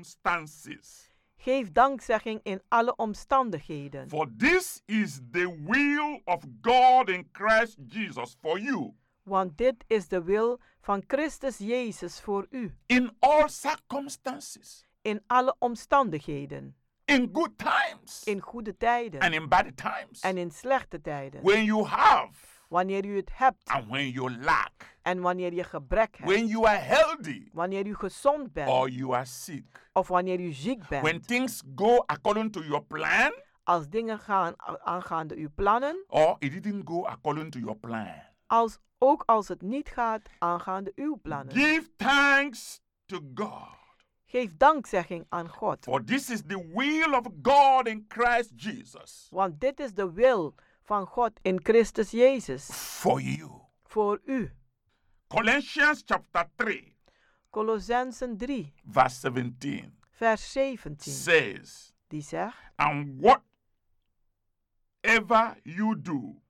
[SPEAKER 10] circumstances,
[SPEAKER 11] geef dankzegging in alle omstandigheden.
[SPEAKER 10] for this is the will of God in Christ Jesus for you.
[SPEAKER 11] Want dit is de wil van Christus Jezus voor u,
[SPEAKER 10] In all circumstances,
[SPEAKER 11] in alle omstandigheden,
[SPEAKER 10] in good times
[SPEAKER 11] in goede tijden
[SPEAKER 10] and in bad times.
[SPEAKER 11] en in slechte tijden.
[SPEAKER 10] when you have
[SPEAKER 11] Wanneer u het hebt.
[SPEAKER 10] And when you lack,
[SPEAKER 11] En wanneer je gebrek hebt.
[SPEAKER 10] when you are healthy,
[SPEAKER 11] wanneer u gezond bent.
[SPEAKER 10] or you are sick,
[SPEAKER 11] of wanneer u ziek bent.
[SPEAKER 10] when things go according to your plan,
[SPEAKER 11] als dingen gaan a- aangaande uw plannen.
[SPEAKER 10] or it didn't go according to your plan,
[SPEAKER 11] Als, ook als het niet gaat aangaande uw plannen.
[SPEAKER 10] give thanks to God.
[SPEAKER 11] Geef dankzegging aan God.
[SPEAKER 10] For this is the will of God in Christ Jesus
[SPEAKER 11] Want dit is de wil van God in Christus Jezus.
[SPEAKER 10] for you.
[SPEAKER 11] Voor u.
[SPEAKER 10] Colossians chapter 3,
[SPEAKER 11] Colossensen 3,
[SPEAKER 10] verse 17
[SPEAKER 11] vers 17.
[SPEAKER 10] says,
[SPEAKER 11] Die zegt:
[SPEAKER 10] And whatever you do,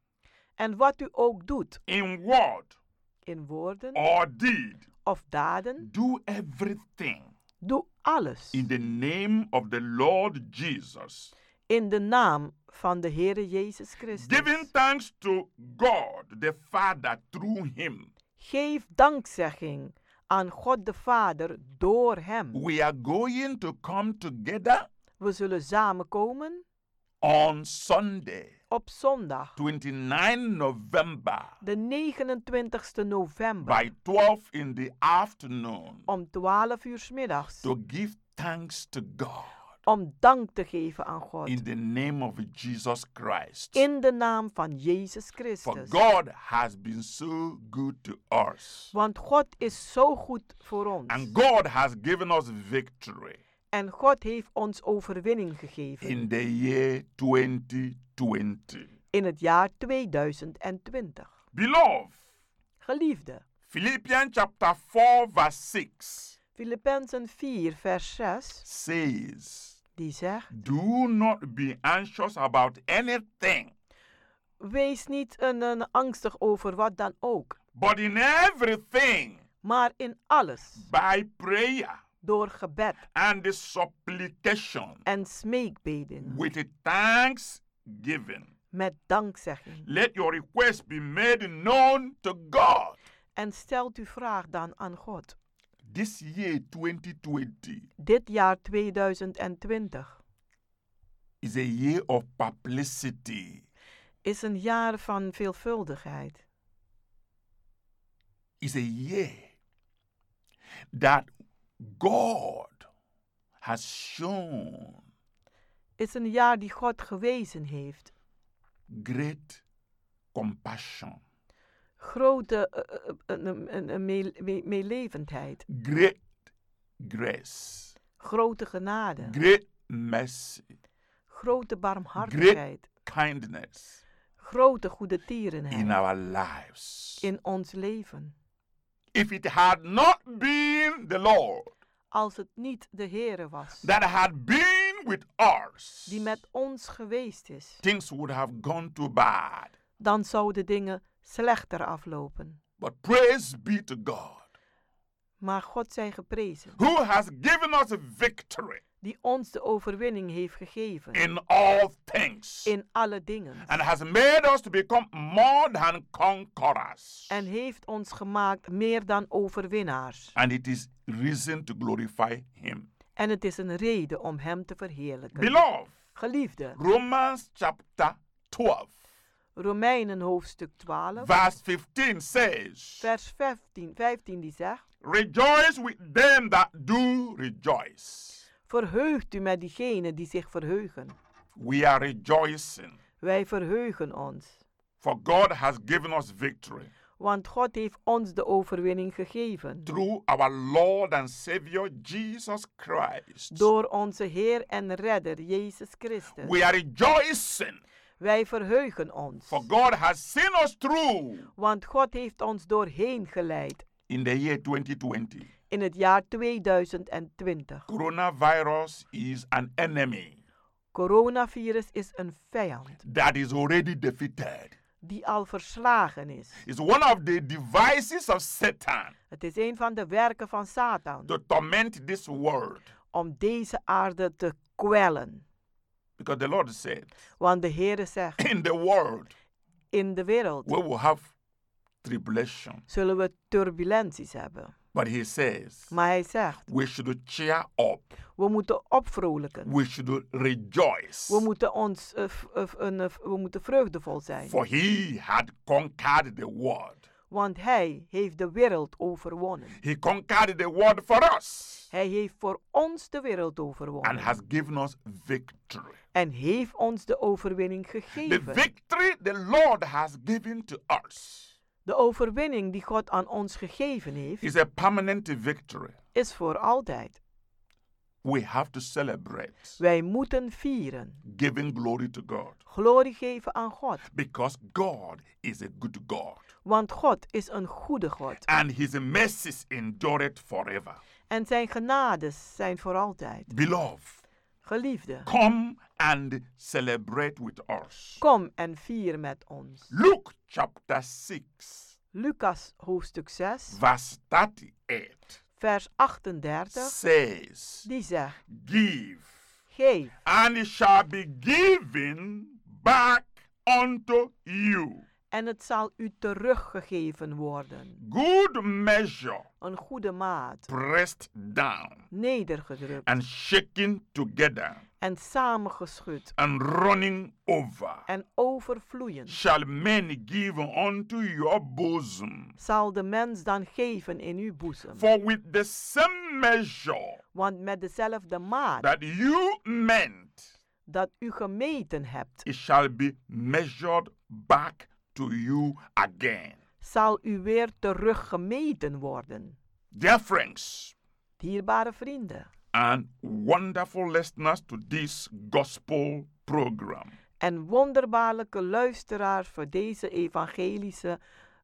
[SPEAKER 11] En wat u ook doet,
[SPEAKER 10] in word
[SPEAKER 11] in woorden
[SPEAKER 10] or deed,
[SPEAKER 11] of daden,
[SPEAKER 10] do everything
[SPEAKER 11] doe alles.
[SPEAKER 10] in the name of the Lord Jesus,
[SPEAKER 11] In de naam van de Heere Jezus Christus.
[SPEAKER 10] giving thanks to God the Father through him.
[SPEAKER 11] Geef dankzegging aan God de Vader door Hem.
[SPEAKER 10] We are going to come together
[SPEAKER 11] We zullen samenkomen
[SPEAKER 10] on Sunday,
[SPEAKER 11] op zondag,
[SPEAKER 10] 29 November,
[SPEAKER 11] de 29ste november,
[SPEAKER 10] by 12 in the afternoon,
[SPEAKER 11] om 12 uur 's middags,
[SPEAKER 10] to give thanks to God
[SPEAKER 11] om dank te geven aan God.
[SPEAKER 10] in the name of Jesus Christ.
[SPEAKER 11] In de naam van Jezus
[SPEAKER 10] For
[SPEAKER 11] Christus.
[SPEAKER 10] God has been so good to us,
[SPEAKER 11] Want God is zo goed voor ons.
[SPEAKER 10] and God has given us victory
[SPEAKER 11] En God heeft ons overwinning gegeven
[SPEAKER 10] in the year 2020.
[SPEAKER 11] in het jaar 2020.
[SPEAKER 10] Beloved,
[SPEAKER 11] Geliefde,
[SPEAKER 10] Philippians chapter 4, verse 6
[SPEAKER 11] Filippenzen 4, vers 6,
[SPEAKER 10] says,
[SPEAKER 11] die zegt:
[SPEAKER 10] Do not be anxious about anything,
[SPEAKER 11] Wees niet een, een angstig over wat dan ook,
[SPEAKER 10] but in everything,
[SPEAKER 11] maar in alles,
[SPEAKER 10] by prayer
[SPEAKER 11] door gebed
[SPEAKER 10] and supplication,
[SPEAKER 11] en smeekbeden,
[SPEAKER 10] with thanksgiving.
[SPEAKER 11] met dankzegging.
[SPEAKER 10] Let your request be made known to God.
[SPEAKER 11] En stelt uw vraag dan aan God.
[SPEAKER 10] This year 2020
[SPEAKER 11] Dit jaar 2020
[SPEAKER 10] is a year of publicity.
[SPEAKER 11] is een jaar van veelvuldigheid.
[SPEAKER 10] It's a year that God has shown
[SPEAKER 11] is een jaar die God gewezen heeft.
[SPEAKER 10] great compassion,
[SPEAKER 11] Grote eh, eh, eh, een- een- een mee- mee- meelevendheid,
[SPEAKER 10] great grace,
[SPEAKER 11] grote genade,
[SPEAKER 10] great mercy,
[SPEAKER 11] grote
[SPEAKER 10] great
[SPEAKER 11] barmhartigheid,
[SPEAKER 10] kindness
[SPEAKER 11] grote goede
[SPEAKER 10] in
[SPEAKER 11] tierenheid
[SPEAKER 10] our lives.
[SPEAKER 11] in ons leven.
[SPEAKER 10] If it had not been the Lord
[SPEAKER 11] Als het niet de Heere was
[SPEAKER 10] that had been with us,
[SPEAKER 11] die met ons geweest is,
[SPEAKER 10] things would have gone too bad.
[SPEAKER 11] dan zouden dingen slechter aflopen.
[SPEAKER 10] But praise be to God
[SPEAKER 11] Maar God zij geprezen,
[SPEAKER 10] who has given us victory
[SPEAKER 11] die ons de overwinning heeft gegeven
[SPEAKER 10] in all things
[SPEAKER 11] in alle dingen.
[SPEAKER 10] and has made us to become more than conquerors.
[SPEAKER 11] En heeft ons gemaakt meer dan overwinnaars.
[SPEAKER 10] And it is reason to glorify Him.
[SPEAKER 11] En het is een reden om hem te verheerlijken.
[SPEAKER 10] Beloved,
[SPEAKER 11] Geliefde,
[SPEAKER 10] Romans chapter 12,
[SPEAKER 11] Romeinen hoofdstuk 12,
[SPEAKER 10] verse 15 says,
[SPEAKER 11] vers 15, 15 die zegt:
[SPEAKER 10] Rejoice with them that do rejoice.
[SPEAKER 11] Verheugt u met diegenen die zich verheugen.
[SPEAKER 10] We are rejoicing,
[SPEAKER 11] Wij verheugen ons,
[SPEAKER 10] for God has given us victory
[SPEAKER 11] want God heeft ons de overwinning gegeven
[SPEAKER 10] through our Lord and Savior Jesus Christ.
[SPEAKER 11] door onze Heer en Redder Jezus Christus.
[SPEAKER 10] We are rejoicing,
[SPEAKER 11] Wij verheugen ons,
[SPEAKER 10] for God has seen us through
[SPEAKER 11] want God heeft ons doorheen geleid
[SPEAKER 10] in the year 2020.
[SPEAKER 11] in het jaar 2020.
[SPEAKER 10] Coronavirus is an enemy
[SPEAKER 11] Coronavirus is een vijand
[SPEAKER 10] that is already defeated.
[SPEAKER 11] die al verslagen is.
[SPEAKER 10] It's one of the devices of Satan
[SPEAKER 11] Het is een van de werken van Satan
[SPEAKER 10] to torment this world.
[SPEAKER 11] om deze aarde te kwellen.
[SPEAKER 10] Because the Lord said, (clears throat)
[SPEAKER 11] Want de Heere zegt,
[SPEAKER 10] In the world
[SPEAKER 11] in de wereld
[SPEAKER 10] we will have tribulation,
[SPEAKER 11] zullen we turbulenties hebben.
[SPEAKER 10] But he says,
[SPEAKER 11] Maar hij zegt,
[SPEAKER 10] we should cheer up.
[SPEAKER 11] we moeten opvrolijken.
[SPEAKER 10] We should rejoice.
[SPEAKER 11] We moeten, ons, eh, v- eh, v- een, eh, we moeten vreugdevol zijn.
[SPEAKER 10] For he had conquered the world.
[SPEAKER 11] Want hij heeft de wereld overwonnen.
[SPEAKER 10] He conquered the world for us
[SPEAKER 11] Hij heeft voor ons de wereld overwonnen.
[SPEAKER 10] and has given us victory.
[SPEAKER 11] en heeft ons de overwinning
[SPEAKER 10] The
[SPEAKER 11] gegeven.
[SPEAKER 10] victory the Lord has given to us
[SPEAKER 11] de overwinning die God aan ons gegeven heeft,
[SPEAKER 10] is a permanent victory.
[SPEAKER 11] is voor altijd.
[SPEAKER 10] We have to celebrate
[SPEAKER 11] Wij moeten vieren.
[SPEAKER 10] giving glory to God
[SPEAKER 11] Glorie geven aan God.
[SPEAKER 10] because God is a good God
[SPEAKER 11] Want God is een goede God.
[SPEAKER 10] and his mercies endureth forever.
[SPEAKER 11] En zijn genades zijn voor altijd.
[SPEAKER 10] Beloved,
[SPEAKER 11] Geliefde,
[SPEAKER 10] come and celebrate with us.
[SPEAKER 11] kom en vier met ons.
[SPEAKER 10] Luke chapter 6,
[SPEAKER 11] Lucas hoofdstuk 6,
[SPEAKER 10] verse 38
[SPEAKER 11] vers 38,
[SPEAKER 10] says,
[SPEAKER 11] die zegt,
[SPEAKER 10] Give,
[SPEAKER 11] geef
[SPEAKER 10] and it shall be given back unto you.
[SPEAKER 11] en het zal u teruggegeven worden.
[SPEAKER 10] Good measure,
[SPEAKER 11] Een goede maat,
[SPEAKER 10] pressed down
[SPEAKER 11] nedergedrukt
[SPEAKER 10] and shaken together
[SPEAKER 11] en samengeschud
[SPEAKER 10] and running over,
[SPEAKER 11] en overvloeiend,
[SPEAKER 10] shall men give unto your bosom.
[SPEAKER 11] zal de mens dan geven in uw boezem.
[SPEAKER 10] For with the same measure
[SPEAKER 11] Want met dezelfde maat
[SPEAKER 10] that you meant,
[SPEAKER 11] dat u gemeten hebt,
[SPEAKER 10] it shall be measured back to you again.
[SPEAKER 11] zal u weer teruggemeten worden.
[SPEAKER 10] Dear friends
[SPEAKER 11] Dierbare vrienden
[SPEAKER 10] and wonderful listeners to this gospel program,
[SPEAKER 11] en wonderbaarlijke luisteraars voor deze evangelische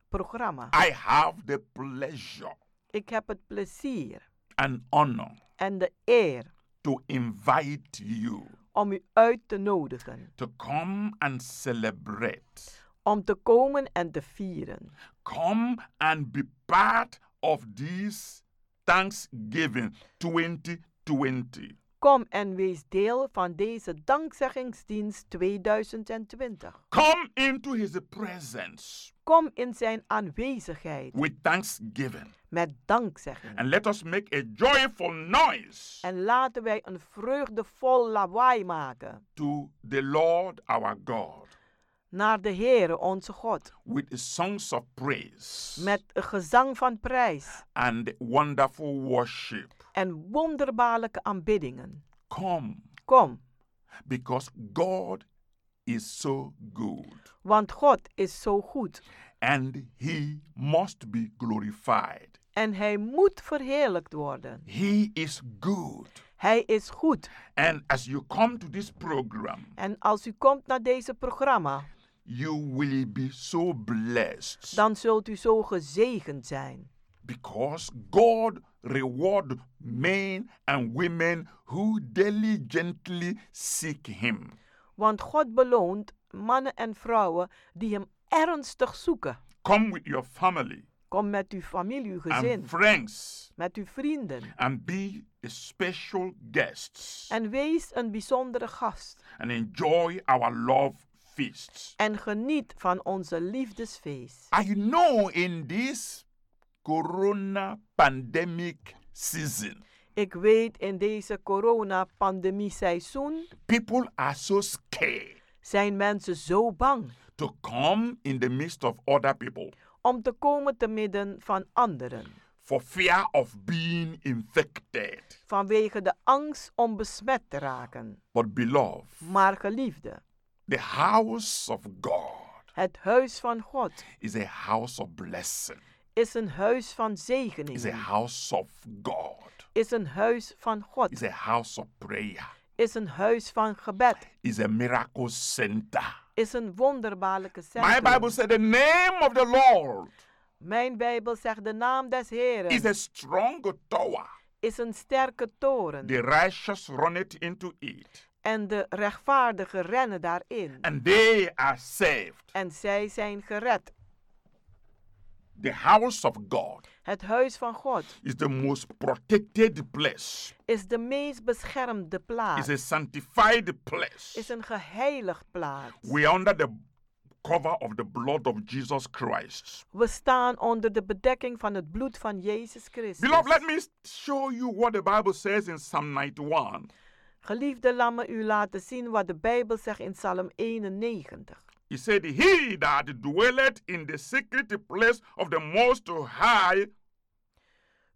[SPEAKER 11] programma.
[SPEAKER 10] I have the pleasure
[SPEAKER 11] Ik heb het plezier
[SPEAKER 10] and honor
[SPEAKER 11] en de eer
[SPEAKER 10] to invite you
[SPEAKER 11] om u uit te nodigen,
[SPEAKER 10] to come and celebrate.
[SPEAKER 11] om te komen en te vieren.
[SPEAKER 10] Come and be part of this Thanksgiving 2020.
[SPEAKER 11] Kom en wees deel van deze dankzeggingsdienst 2020.
[SPEAKER 10] Come into his presence
[SPEAKER 11] Kom in zijn aanwezigheid
[SPEAKER 10] with thanksgiving
[SPEAKER 11] met dankzegging.
[SPEAKER 10] and let us make a joyful noise
[SPEAKER 11] En laten wij een vreugdevol lawaai maken
[SPEAKER 10] to the Lord our God
[SPEAKER 11] naar de Heere onze God.
[SPEAKER 10] with songs of praise
[SPEAKER 11] Met een gezang van prijs
[SPEAKER 10] and wonderful worship.
[SPEAKER 11] en wonderbaarlijke aanbiddingen.
[SPEAKER 10] Come
[SPEAKER 11] Kom,
[SPEAKER 10] because God is so good
[SPEAKER 11] want God is zo goed
[SPEAKER 10] and he must be glorified.
[SPEAKER 11] en Hij moet verheerlijkt worden.
[SPEAKER 10] He is good.
[SPEAKER 11] Hij is goed.
[SPEAKER 10] And as you come to this program,
[SPEAKER 11] En als u komt naar deze programma,
[SPEAKER 10] you will be so blessed
[SPEAKER 11] dan zult u zo gezegend zijn.
[SPEAKER 10] because God reward men and women who diligently seek him.
[SPEAKER 11] Want God beloont mannen en vrouwen die Hem ernstig zoeken.
[SPEAKER 10] Come with your family
[SPEAKER 11] Kom met uw familie, uw gezin,
[SPEAKER 10] and friends
[SPEAKER 11] met uw vrienden.
[SPEAKER 10] and be a special guests
[SPEAKER 11] En wees een bijzondere gast.
[SPEAKER 10] and enjoy our love feasts.
[SPEAKER 11] En geniet van onze liefdesfeest.
[SPEAKER 10] I know in this corona pandemic season
[SPEAKER 11] Ik weet in deze corona-pandemie-seizoen
[SPEAKER 10] people are so scared
[SPEAKER 11] zijn mensen zo bang
[SPEAKER 10] to come in the midst of other people
[SPEAKER 11] om te komen te midden van anderen.
[SPEAKER 10] for fear of being infected.
[SPEAKER 11] Vanwege de angst om besmet te raken.
[SPEAKER 10] But, beloved,
[SPEAKER 11] Maar geliefde,
[SPEAKER 10] the house of God
[SPEAKER 11] het huis van God
[SPEAKER 10] is a house of blessing,
[SPEAKER 11] is een huis van
[SPEAKER 10] is a
[SPEAKER 11] zegening.
[SPEAKER 10] house of God,
[SPEAKER 11] Is een huis van God.
[SPEAKER 10] is a house of prayer,
[SPEAKER 11] Is een huis van gebed.
[SPEAKER 10] is a miracle center.
[SPEAKER 11] Is een wonderbaarlijke
[SPEAKER 10] My Bible
[SPEAKER 11] centrum.
[SPEAKER 10] said the name of the Lord
[SPEAKER 11] Mijn Bijbel zegt de naam des
[SPEAKER 10] is
[SPEAKER 11] Heren
[SPEAKER 10] a strong tower.
[SPEAKER 11] is een sterke toren.
[SPEAKER 10] The righteous run it into it,
[SPEAKER 11] En de rechtvaardigen rennen daarin.
[SPEAKER 10] and they are saved.
[SPEAKER 11] En zij zijn gered.
[SPEAKER 10] The house of God
[SPEAKER 11] Het huis van God
[SPEAKER 10] is the most protected place,
[SPEAKER 11] is de meest beschermde
[SPEAKER 10] is
[SPEAKER 11] plaats.
[SPEAKER 10] a sanctified place.
[SPEAKER 11] Is een geheiligd plaats.
[SPEAKER 10] We are under the cover of the blood of Jesus Christ.
[SPEAKER 11] We staan onder de bedekking van het bloed van Jezus Christus.
[SPEAKER 10] Beloved, let me show you what the Bible says in Psalm 91.
[SPEAKER 11] Geliefde, laat me u laten zien wat de Bijbel zegt in Psalm 91.
[SPEAKER 10] He said, He that dwelleth in the secret place of the Most High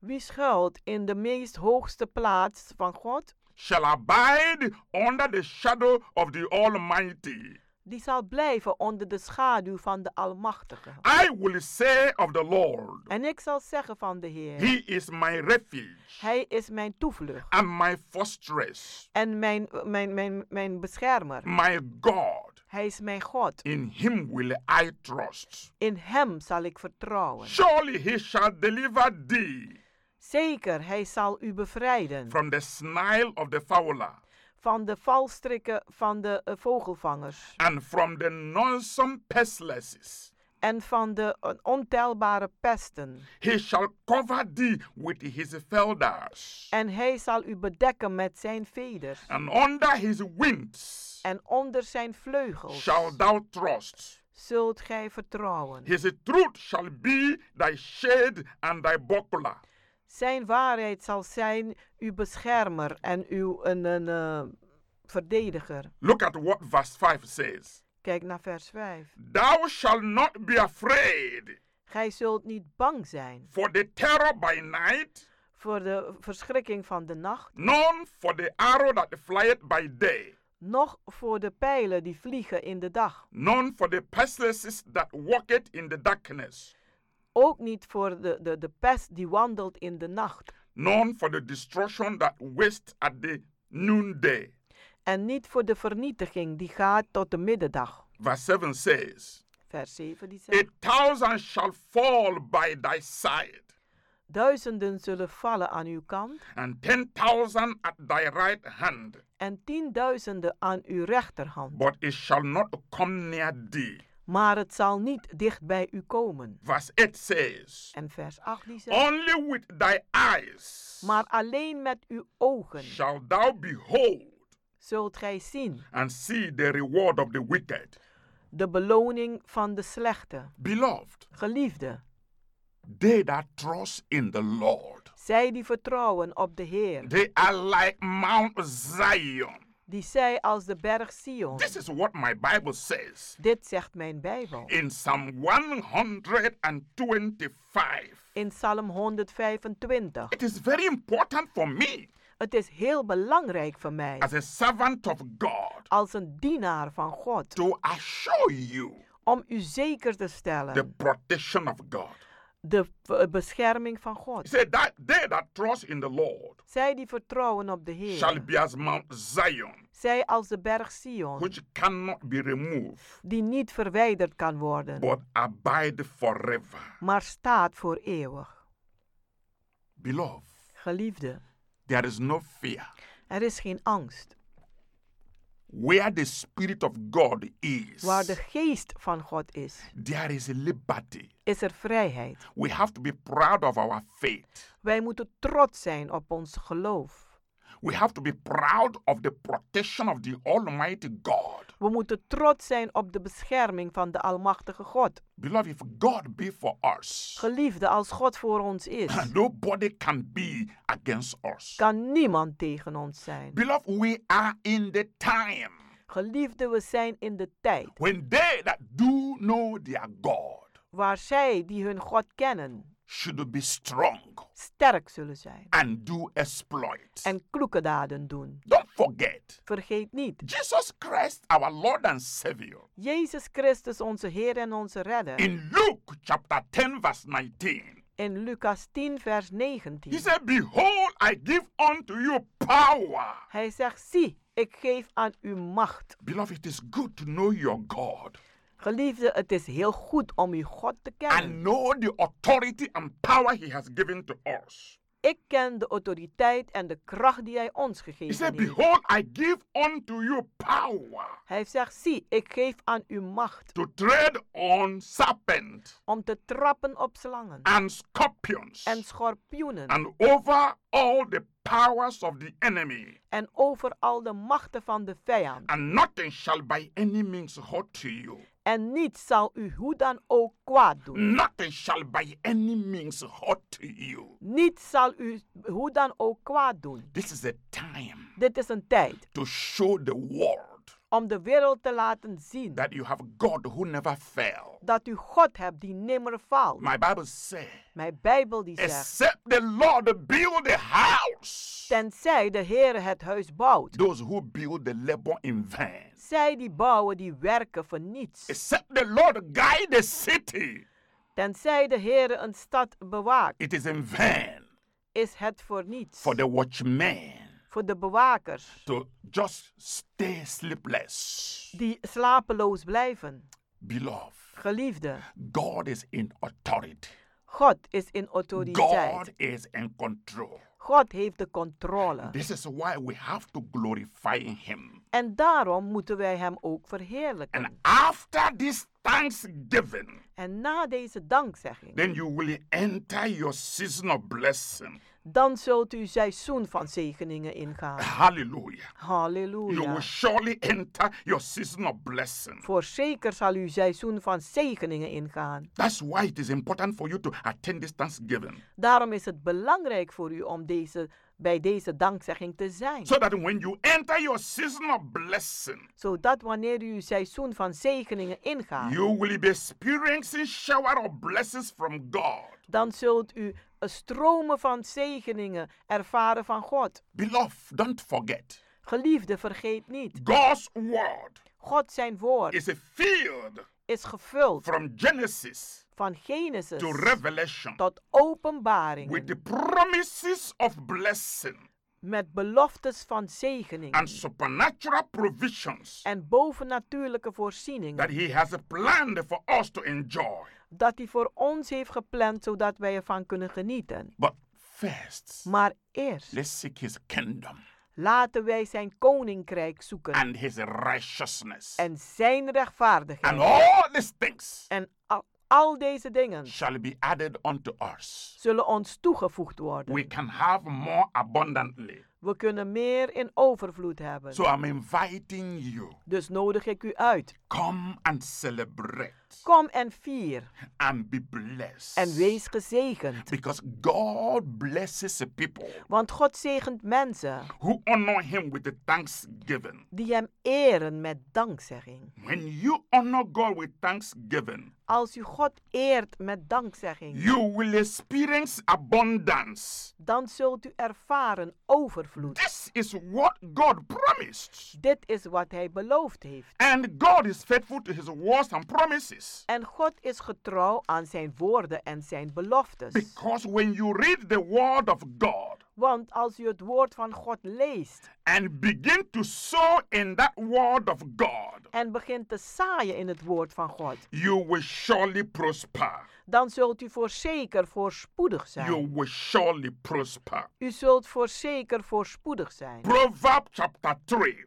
[SPEAKER 11] Wie schuilt in de meest hoogste plaats van God,
[SPEAKER 10] shall abide under the shadow of the Almighty.
[SPEAKER 11] die zal blijven onder de schaduw van de Almachtige.
[SPEAKER 10] I will say of the Lord,
[SPEAKER 11] En ik zal zeggen van de Heer,
[SPEAKER 10] He is my refuge
[SPEAKER 11] Hij is mijn toevlucht
[SPEAKER 10] and my fortress,
[SPEAKER 11] en mijn, mijn, mijn, mijn beschermer.
[SPEAKER 10] my God.
[SPEAKER 11] Hij is mijn God.
[SPEAKER 10] In Him will I trust.
[SPEAKER 11] In Hem zal ik vertrouwen.
[SPEAKER 10] Surely He shall deliver thee
[SPEAKER 11] Zeker, Hij zal u bevrijden
[SPEAKER 10] from the snare of the fowler
[SPEAKER 11] van de valstrikken van de eh, vogelvangers
[SPEAKER 10] and from the noisome pestilences.
[SPEAKER 11] en van de eh, ontelbare pesten.
[SPEAKER 10] He shall cover thee with His feathers,
[SPEAKER 11] En Hij zal u bedekken met zijn veders
[SPEAKER 10] and under His wings
[SPEAKER 11] en onder zijn vleugels
[SPEAKER 10] shall thou trust.
[SPEAKER 11] zult gij vertrouwen.
[SPEAKER 10] His truth shall be thy shade and thy buckler.
[SPEAKER 11] Zijn waarheid zal zijn uw beschermer en uw een, een, eh, verdediger.
[SPEAKER 10] Look at what verse 5 says.
[SPEAKER 11] Kijk naar vers 5.
[SPEAKER 10] Thou shalt not be afraid
[SPEAKER 11] Gij zult niet bang zijn
[SPEAKER 10] for the terror by night,
[SPEAKER 11] voor de verschrikking van de nacht,
[SPEAKER 10] nor for the arrow that flieth by day,
[SPEAKER 11] noch voor de pijlen die vliegen in de dag,
[SPEAKER 10] nor for the pestilence that walketh in the darkness,
[SPEAKER 11] ook niet voor de, de, de pest die wandelt in de nacht,
[SPEAKER 10] nor for the destruction that wasteth at the noonday.
[SPEAKER 11] en niet voor de vernietiging die gaat tot de middag.
[SPEAKER 10] Verse 7 says,
[SPEAKER 11] Vers 7 die zegt,
[SPEAKER 10] A thousand shall fall by thy side,
[SPEAKER 11] duizenden zullen vallen aan uw kant
[SPEAKER 10] and ten thousand at thy right hand,
[SPEAKER 11] en tienduizenden aan uw rechterhand,
[SPEAKER 10] but it shall not come near thee.
[SPEAKER 11] maar het zal niet dicht bij u komen.
[SPEAKER 10] Verse 8 says,
[SPEAKER 11] En vers 8 die zegt,
[SPEAKER 10] Only with thy eyes
[SPEAKER 11] maar alleen met uw ogen
[SPEAKER 10] shall thou behold
[SPEAKER 11] zult gij zien
[SPEAKER 10] and see the reward of the wicked.
[SPEAKER 11] de beloning van de slechte.
[SPEAKER 10] Beloved,
[SPEAKER 11] Geliefde,
[SPEAKER 10] they that trust in the Lord,
[SPEAKER 11] zij die vertrouwen op de Heer,
[SPEAKER 10] they are like Mount Zion.
[SPEAKER 11] die zij als de berg Sion.
[SPEAKER 10] This is what my Bible says
[SPEAKER 11] Dit zegt mijn Bijbel.
[SPEAKER 10] in Psalm 125.
[SPEAKER 11] In Psalm 125.
[SPEAKER 10] It is very important for me
[SPEAKER 11] Het is heel belangrijk voor mij,
[SPEAKER 10] as a servant of God
[SPEAKER 11] als een dienaar van God,
[SPEAKER 10] to assure you
[SPEAKER 11] om u zeker te
[SPEAKER 10] the
[SPEAKER 11] stellen
[SPEAKER 10] protection of God.
[SPEAKER 11] de eh, bescherming van
[SPEAKER 10] He
[SPEAKER 11] God.
[SPEAKER 10] said that they that trust in the Lord
[SPEAKER 11] Zij die vertrouwen op de
[SPEAKER 10] shall
[SPEAKER 11] Heer,
[SPEAKER 10] be as Mount Zion,
[SPEAKER 11] zij als de berg Sion,
[SPEAKER 10] which cannot be removed,
[SPEAKER 11] die niet verwijderd kan worden,
[SPEAKER 10] but abide forever.
[SPEAKER 11] maar staat voor eeuwig.
[SPEAKER 10] Beloved,
[SPEAKER 11] Geliefde,
[SPEAKER 10] there is no fear.
[SPEAKER 11] er is geen angst.
[SPEAKER 10] Where the Spirit of God is,
[SPEAKER 11] Waar de geest van God is,
[SPEAKER 10] there is liberty.
[SPEAKER 11] is er vrijheid.
[SPEAKER 10] We have to be proud of our faith.
[SPEAKER 11] Wij moeten trots zijn op ons geloof.
[SPEAKER 10] We have to be proud of the protection of the Almighty God.
[SPEAKER 11] We moeten trots zijn op de bescherming van de Almachtige God.
[SPEAKER 10] Beloved, if God be for us,
[SPEAKER 11] Geliefde, als God voor ons
[SPEAKER 10] (clears throat)
[SPEAKER 11] is,
[SPEAKER 10] nobody can be against us.
[SPEAKER 11] kan niemand tegen ons zijn.
[SPEAKER 10] Beloved, we are in the time
[SPEAKER 11] Geliefde, we zijn in de tijd
[SPEAKER 10] when they that do know their God
[SPEAKER 11] waar zij die hun God kennen,
[SPEAKER 10] should be strong
[SPEAKER 11] sterk zullen zijn
[SPEAKER 10] and do exploits.
[SPEAKER 11] en kloeke daden doen.
[SPEAKER 10] Don't forget,
[SPEAKER 11] Vergeet niet,
[SPEAKER 10] Jesus Christ, our Lord and Savior,
[SPEAKER 11] Jezus Christus, onze Heer en onze Redder,
[SPEAKER 10] in Luke chapter 10, verse 19,
[SPEAKER 11] in Lucas 10, vers
[SPEAKER 10] he
[SPEAKER 11] 19.
[SPEAKER 10] said, Behold, I give unto you power.
[SPEAKER 11] Hij zegt, zie, ik geef aan u macht.
[SPEAKER 10] Beloved, it is good to know your God
[SPEAKER 11] Geliefde, het is heel goed om uw God te
[SPEAKER 10] and
[SPEAKER 11] kennen.
[SPEAKER 10] know the authority and power he has given to us.
[SPEAKER 11] Ik ken de autoriteit en de kracht die hij ons
[SPEAKER 10] He
[SPEAKER 11] gegeven
[SPEAKER 10] said,
[SPEAKER 11] heeft.
[SPEAKER 10] Behold, I give unto you power
[SPEAKER 11] Hij zegt, zie, ik geef aan u macht
[SPEAKER 10] to tread on serpent
[SPEAKER 11] om te trappen op slangen
[SPEAKER 10] and scorpions
[SPEAKER 11] en schorpioenen
[SPEAKER 10] and over all the powers of the enemy.
[SPEAKER 11] en over al de machten van de vijand.
[SPEAKER 10] and nothing shall by any means hurt to you.
[SPEAKER 11] En niets zal u hoe dan ook kwaad doen.
[SPEAKER 10] Nothing shall by any means hurt you.
[SPEAKER 11] Niets zal u hoe dan ook kwaad doen.
[SPEAKER 10] This is a time
[SPEAKER 11] Dit is een tijd
[SPEAKER 10] to show the world
[SPEAKER 11] om de wereld te laten zien
[SPEAKER 10] that you have God who never fail.
[SPEAKER 11] dat u God hebt die nimmer faalt.
[SPEAKER 10] My Bible says,
[SPEAKER 11] Mijn Bijbel die zegt,
[SPEAKER 10] except the Lord build a house,
[SPEAKER 11] tenzij de Heer het huis bouwt,
[SPEAKER 10] those who build the labor in vain.
[SPEAKER 11] zij die bouwen die werken voor niets.
[SPEAKER 10] Except the Lord guide the city,
[SPEAKER 11] Tenzij de Heer een stad bewaakt,
[SPEAKER 10] it is in vain
[SPEAKER 11] is het voor niets.
[SPEAKER 10] for the watchman
[SPEAKER 11] Voor de bewakers
[SPEAKER 10] to just stay sleepless.
[SPEAKER 11] die slapeloos blijven.
[SPEAKER 10] Beloved,
[SPEAKER 11] Geliefde,
[SPEAKER 10] God is in authority.
[SPEAKER 11] God is in autoriteit.
[SPEAKER 10] God is in control.
[SPEAKER 11] God heeft de controle.
[SPEAKER 10] This is why we have to glorify Him.
[SPEAKER 11] En daarom moeten wij Hem ook verheerlijken.
[SPEAKER 10] And after this thanksgiving,
[SPEAKER 11] En na deze dankzegging,
[SPEAKER 10] then you will enter your season of blessing.
[SPEAKER 11] dan zult u seizoen van zegeningen ingaan.
[SPEAKER 10] Hallelujah. You
[SPEAKER 11] Halleluja.
[SPEAKER 10] will surely enter your season of blessing.
[SPEAKER 11] Voorzeker zal u seizoen van zegeningen ingaan.
[SPEAKER 10] That's why it is important for you to attend this thanksgiving.
[SPEAKER 11] Daarom is het belangrijk voor u om deze, bij deze dankzegging te zijn.
[SPEAKER 10] So that when you enter your season of blessing,
[SPEAKER 11] Zodat wanneer u uw seizoen van zegeningen ingaat,
[SPEAKER 10] you will be experiencing shower of blessings from God.
[SPEAKER 11] dan zult u een stromen van zegeningen ervaren van God.
[SPEAKER 10] Beloved, don't forget,
[SPEAKER 11] Geliefde, vergeet niet.
[SPEAKER 10] God's word
[SPEAKER 11] God zijn woord
[SPEAKER 10] is a field
[SPEAKER 11] is gevuld
[SPEAKER 10] from Genesis
[SPEAKER 11] van
[SPEAKER 10] to
[SPEAKER 11] Genesis
[SPEAKER 10] Revelation
[SPEAKER 11] tot openbaring
[SPEAKER 10] with the promises of blessing
[SPEAKER 11] met beloftes van zegeningen
[SPEAKER 10] and supernatural provisions
[SPEAKER 11] en bovennatuurlijke
[SPEAKER 10] that
[SPEAKER 11] voorzieningen
[SPEAKER 10] He has planned for us to enjoy.
[SPEAKER 11] dat hij voor ons heeft gepland zodat wij ervan kunnen genieten.
[SPEAKER 10] But first,
[SPEAKER 11] Maar eerst
[SPEAKER 10] let's seek His kingdom
[SPEAKER 11] laten wij zijn koninkrijk zoeken
[SPEAKER 10] and His righteousness,
[SPEAKER 11] en zijn
[SPEAKER 10] and
[SPEAKER 11] rechtvaardigheid.
[SPEAKER 10] all these things
[SPEAKER 11] En al, al deze dingen
[SPEAKER 10] shall be added unto us.
[SPEAKER 11] zullen ons toegevoegd
[SPEAKER 10] We
[SPEAKER 11] worden.
[SPEAKER 10] can have more abundantly.
[SPEAKER 11] We kunnen meer in overvloed hebben.
[SPEAKER 10] So I'm inviting you.
[SPEAKER 11] Dus nodig ik u uit.
[SPEAKER 10] Come and celebrate
[SPEAKER 11] Kom en vier
[SPEAKER 10] and be blessed.
[SPEAKER 11] en wees gezegend.
[SPEAKER 10] Because God blesses the people
[SPEAKER 11] Want God zegent mensen
[SPEAKER 10] who honor Him with the thanksgiving.
[SPEAKER 11] die hem eren met dankzegging.
[SPEAKER 10] When you honor God with thanksgiving,
[SPEAKER 11] Als u God eert met dankzegging,
[SPEAKER 10] you will experience abundance.
[SPEAKER 11] dan zult u ervaren overvloed.
[SPEAKER 10] This is what God promised.
[SPEAKER 11] Dit is wat hij beloofd heeft.
[SPEAKER 10] And God is faithful to His words and promises.
[SPEAKER 11] En God is getrouw aan zijn woorden en zijn beloftes.
[SPEAKER 10] Because when you read the Word of God
[SPEAKER 11] Want als u het woord van God leest
[SPEAKER 10] and begin to sow in that Word of God,
[SPEAKER 11] en begint te zaaien in het woord van God,
[SPEAKER 10] you will surely prosper.
[SPEAKER 11] dan zult u voorzeker voorspoedig
[SPEAKER 10] You
[SPEAKER 11] zijn.
[SPEAKER 10] will surely prosper.
[SPEAKER 11] U zult voorzeker voorspoedig zijn.
[SPEAKER 10] Proverbs chapter 3,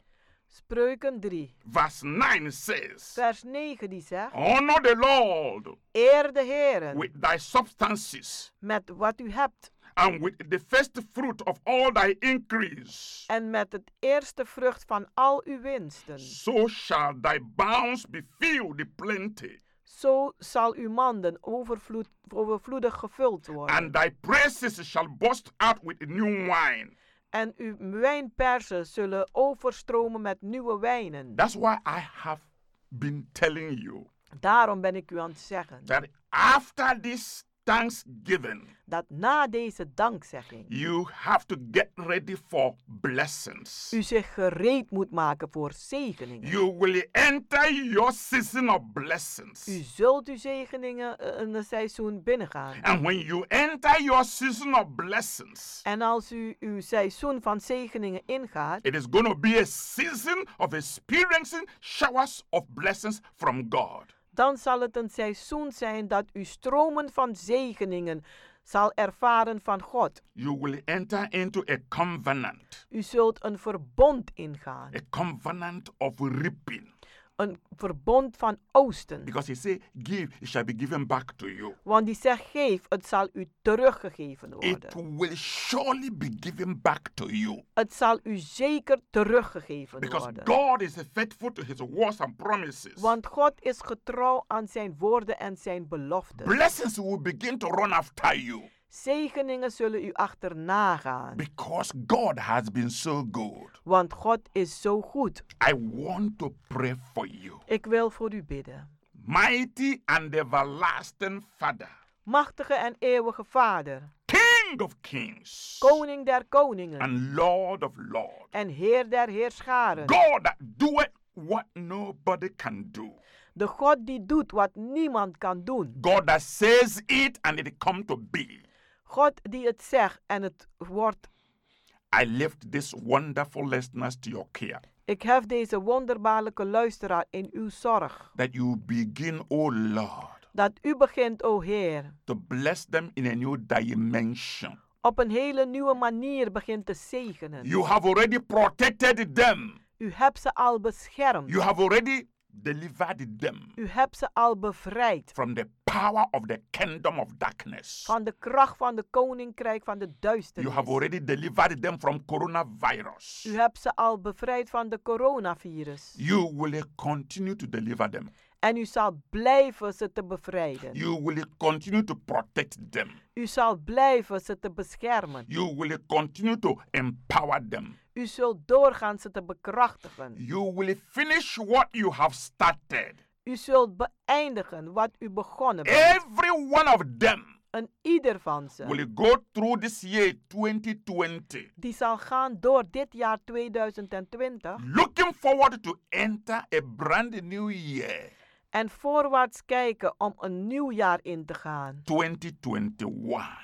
[SPEAKER 11] Spreuken 3,
[SPEAKER 10] verse 9 says,
[SPEAKER 11] vers 9 die zegt,
[SPEAKER 10] Honor the Lord
[SPEAKER 11] Eer de Heeren
[SPEAKER 10] with thy substances
[SPEAKER 11] met wat u hebt
[SPEAKER 10] and with the first fruit of all thy increase.
[SPEAKER 11] en met het eerste vrucht van al uw winsten.
[SPEAKER 10] So shall thy bounds be filled with plenty,
[SPEAKER 11] Zo zal uw manden overvloed, overvloedig gevuld worden
[SPEAKER 10] and thy praises shall burst out with new wine.
[SPEAKER 11] en uw wijnpersen zullen overstromen met nieuwe wijnen.
[SPEAKER 10] That's why I have been telling you
[SPEAKER 11] Daarom ben ik u aan het zeggen
[SPEAKER 10] that after this thanksgiving,
[SPEAKER 11] dat na deze dankzegging
[SPEAKER 10] you have to get ready for blessings.
[SPEAKER 11] u zich gereed moet maken voor zegeningen.
[SPEAKER 10] You will enter your season of blessings.
[SPEAKER 11] U zult uw zegeningen eh, in een seizoen binnengaan.
[SPEAKER 10] And when you enter your season of blessings,
[SPEAKER 11] En als u uw seizoen van zegeningen ingaat,
[SPEAKER 10] it is going to be a season of experiencing showers of blessings from God.
[SPEAKER 11] dan zal het een seizoen zijn dat u stromen van zegeningen zal ervaren van God.
[SPEAKER 10] You will enter into a covenant,
[SPEAKER 11] U zult een verbond ingaan,
[SPEAKER 10] a covenant of reaping,
[SPEAKER 11] een verbond van oosten.
[SPEAKER 10] Because he say, give, it shall be given back to you.
[SPEAKER 11] Want die zegt, geef, het zal u teruggegeven worden.
[SPEAKER 10] It will surely be given back to you.
[SPEAKER 11] Het zal u zeker teruggegeven
[SPEAKER 10] Because
[SPEAKER 11] worden.
[SPEAKER 10] God is faithful to his words and promises.
[SPEAKER 11] Want God is getrouw aan zijn woorden en zijn beloften.
[SPEAKER 10] Blessings will begin to run after you.
[SPEAKER 11] Zegeningen zullen u achterna gaan.
[SPEAKER 10] Because God has been so good.
[SPEAKER 11] Want God is zo goed.
[SPEAKER 10] I want to pray for you.
[SPEAKER 11] Ik wil voor u bidden.
[SPEAKER 10] Mighty and everlasting Father,
[SPEAKER 11] Machtige en eeuwige Vader,
[SPEAKER 10] King of kings
[SPEAKER 11] Koning der koningen
[SPEAKER 10] and Lord of lords.
[SPEAKER 11] en Heer der heerscharen.
[SPEAKER 10] God that doeth what nobody can do.
[SPEAKER 11] De God die doet wat niemand kan doen.
[SPEAKER 10] God that says it and it come to be.
[SPEAKER 11] God die het zegt en het wordt.
[SPEAKER 10] I lift these wonderful listeners to your care.
[SPEAKER 11] Ik hef deze wonderbaarlijke luisteraar in uw zorg.
[SPEAKER 10] That you begin, O Lord,
[SPEAKER 11] Dat u begint, o Heer,
[SPEAKER 10] to bless them in a new dimension.
[SPEAKER 11] op een hele nieuwe manier begint te zegenen.
[SPEAKER 10] You have already protected them.
[SPEAKER 11] U hebt ze al beschermd.
[SPEAKER 10] You have already delivered them
[SPEAKER 11] U hebt ze al bevrijd
[SPEAKER 10] from the power of the kingdom of darkness.
[SPEAKER 11] van de kracht van de koninkrijk van de
[SPEAKER 10] You have
[SPEAKER 11] duisternis.
[SPEAKER 10] already delivered them from coronavirus.
[SPEAKER 11] U hebt ze al bevrijd van de coronavirus.
[SPEAKER 10] You will continue to deliver them.
[SPEAKER 11] En u zal blijven ze te bevrijden.
[SPEAKER 10] You will continue to protect them.
[SPEAKER 11] U zal blijven ze te beschermen.
[SPEAKER 10] You will continue to empower them.
[SPEAKER 11] U zult doorgaan ze te bekrachtigen.
[SPEAKER 10] You will finish what you have started.
[SPEAKER 11] U zult beëindigen wat u begonnen bent.
[SPEAKER 10] Every one of them
[SPEAKER 11] En ieder van ze
[SPEAKER 10] will go through this year 2020
[SPEAKER 11] die zal gaan door dit jaar 2020
[SPEAKER 10] looking forward to enter a brand new year
[SPEAKER 11] en voorwaarts kijken om een nieuw jaar in te gaan.
[SPEAKER 10] 2021.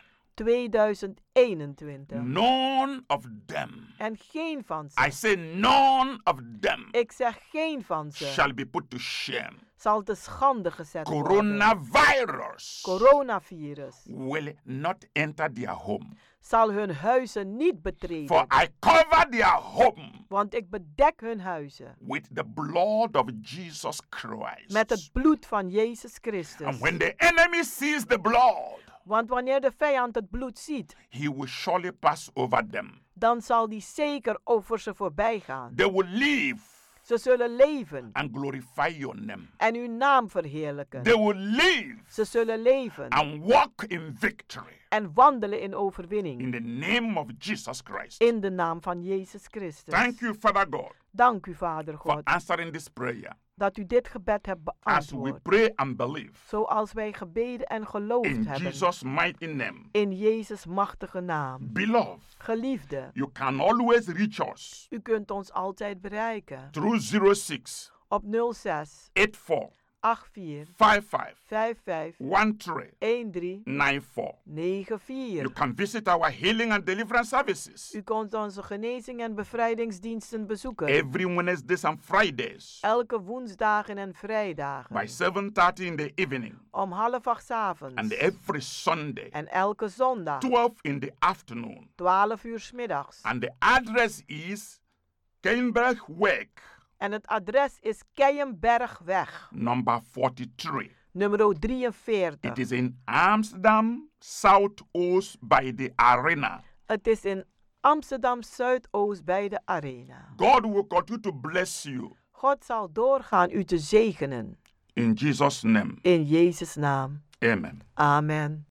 [SPEAKER 11] 2021.
[SPEAKER 10] None of them,
[SPEAKER 11] En geen van ze,
[SPEAKER 10] I say none of them,
[SPEAKER 11] ik zeg geen van ze,
[SPEAKER 10] shall be put to shame.
[SPEAKER 11] zal te schande gezet worden.
[SPEAKER 10] Coronavirus
[SPEAKER 11] Coronavirus
[SPEAKER 10] will not enter their home.
[SPEAKER 11] zal hun huizen niet betreden,
[SPEAKER 10] For I cover their home
[SPEAKER 11] want ik bedek hun huizen
[SPEAKER 10] with the blood of Jesus Christ.
[SPEAKER 11] met het bloed van Jezus Christus.
[SPEAKER 10] And when the enemy sees the blood,
[SPEAKER 11] Want wanneer de vijand het bloed ziet,
[SPEAKER 10] he will surely pass over them.
[SPEAKER 11] dan zal die zeker over ze voorbij gaan.
[SPEAKER 10] They will live
[SPEAKER 11] Ze zullen leven
[SPEAKER 10] and glorify your name.
[SPEAKER 11] en uw naam verheerlijken.
[SPEAKER 10] They will live
[SPEAKER 11] Ze zullen leven
[SPEAKER 10] and walk in victory
[SPEAKER 11] en wandelen in
[SPEAKER 10] in
[SPEAKER 11] overwinning.
[SPEAKER 10] the name of Jesus Christ.
[SPEAKER 11] In de naam van Jezus Christus.
[SPEAKER 10] Thank you, Father God,
[SPEAKER 11] Dank u, Vader
[SPEAKER 10] for
[SPEAKER 11] God,
[SPEAKER 10] answering this prayer
[SPEAKER 11] dat u dit gebed hebt
[SPEAKER 10] as we
[SPEAKER 11] beantwoord.
[SPEAKER 10] pray and believe.
[SPEAKER 11] Zoals wij gebeden en geloofd
[SPEAKER 10] In
[SPEAKER 11] hebben.
[SPEAKER 10] Jesus' mighty name.
[SPEAKER 11] In Jezus' machtige naam.
[SPEAKER 10] Beloved,
[SPEAKER 11] Geliefde,
[SPEAKER 10] you can always reach us
[SPEAKER 11] u kunt ons altijd bereiken
[SPEAKER 10] through 06
[SPEAKER 11] op 06
[SPEAKER 10] 84
[SPEAKER 11] 84
[SPEAKER 10] 55
[SPEAKER 11] 55
[SPEAKER 10] 13
[SPEAKER 11] 13
[SPEAKER 10] 94.
[SPEAKER 11] 94.
[SPEAKER 10] You can visit our healing and deliverance services
[SPEAKER 11] U kunt onze genezing en bevrijdingsdiensten bezoeken.
[SPEAKER 10] every Wednesdays and Fridays
[SPEAKER 11] Elke woensdagen en vrijdagen.
[SPEAKER 10] by 7:30 in the evening
[SPEAKER 11] Om half acht 's avonds.
[SPEAKER 10] and every Sunday
[SPEAKER 11] En elke zondag.
[SPEAKER 10] 12 in the afternoon.
[SPEAKER 11] 12 uur 's middags.
[SPEAKER 10] And the address is Cambridge Work,
[SPEAKER 11] En het adres is Keienbergweg,
[SPEAKER 10] number 43.
[SPEAKER 11] nummer 43.
[SPEAKER 10] It is in Amsterdam, South Oost by the arena.
[SPEAKER 11] Het is in Amsterdam Zuidoost bij de Arena.
[SPEAKER 10] God will continue to bless you
[SPEAKER 11] God zal doorgaan u te zegenen.
[SPEAKER 10] in Jesus' name.
[SPEAKER 11] In Jezus' naam.
[SPEAKER 10] Amen.
[SPEAKER 11] Amen.